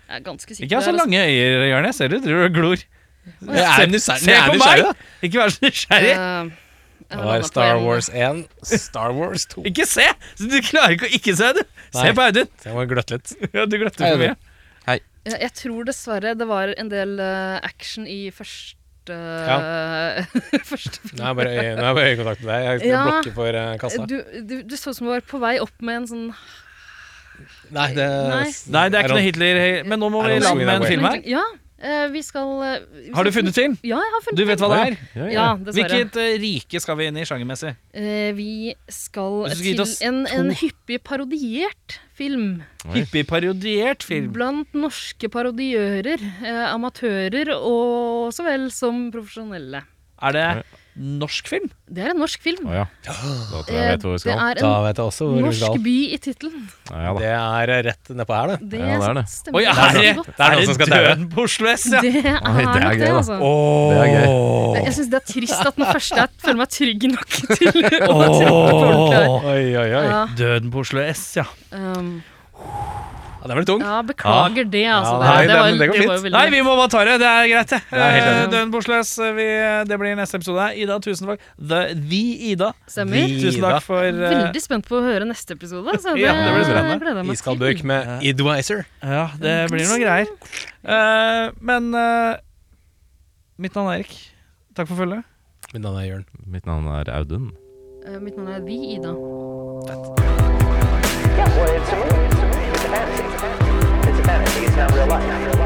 Jeg er ganske sikker. Ikke ha så der, altså. lange øyer, Jørn. Jeg ser du driver og glor. Jeg er nysgjerrig- Se jeg er på nysgjerrig, meg! Ikke vær så nysgjerrig. Eh, jeg Det har var landet på Star en. eh, Wars 1, Star Wars 2. Ikke se! Så du klarer ikke å ikke se, du. Se Nei. på Audun. Så Jeg må gløtte litt. Ja, du glemte Hei, for mye. Audun. Jeg, jeg tror dessverre det var en del eh, action i første første film. Nå er jeg bare, øy- nå er jeg bare øyekontakt med deg. Jeg skal Ja. blokke for eh, kassa. Du, du, du så ut som du var på vei opp med en sånn Nei, det, Nei. Nei, det er ikke noe Hitler Men nå må Er vi det lande Sweden med en Away? film her. Ja, eh, vi skal eh, vi Har du skal- funnet til? Ja, jeg har funnet Du vet hva det er? Ja, Ja, ja. dessverre. Hvilket eh, rike skal vi inn i sjangermessig? Eh, vi skal Hvis du skal gi til oss en, en to- hyppig parodiert film. Hippieparodiert film. Blant norske parodiører, eh, amatører og så vel som profesjonelle. Er det norsk film? Det er en norsk film. Å, ja. Da tror jeg jeg Eh, vet hvor vi Det skal. er Da en vet jeg også hvor vi norsk skal. by i tittelen. Ja, ja, da. Det er eh, rett nedpå her, det. Det, Ja, det er det. stemmer Oi, er ganske det, godt. er er noen som det skal daue. døden på Oslo S? Ja. Det er, Oi, det er nok gøy, det, da. altså. Det er gøy. Det- Jeg syns det er trist at den første Jeg føler meg trygg nok til å tro på ordentlig. Oi, oi, oi. ja, Døden på Oslo S, ja. um, Ja, den ble tung. ja, beklager det, altså. Ja, nei, det, var, det- men det går var fint. veldig Nei, vi må bare ta det. Det er greit, det. Ja, helt Eh, enig. Døden på Oslo S, vi, eh, det blir neste episode. Ida, tusen takk. The, the Ida. Stemmer. Tusen Ida. takk for eh, Veldig spent på å høre neste episode. Så det, Ja, det blir spennende. gleder jeg meg Iskald til. bøk med Idwiser. Ja, det blir noe greier. Eh, men eh, mitt navn er Erik. Takk for følget. Mitt navn er Jørn. Mitt navn er Audun. Eh, Mitt navn er Vi Ida. Yeah, well, it's a movie. It's a movie. It's a fantasy. It's a fantasy. It's a fantasy. It's not real life.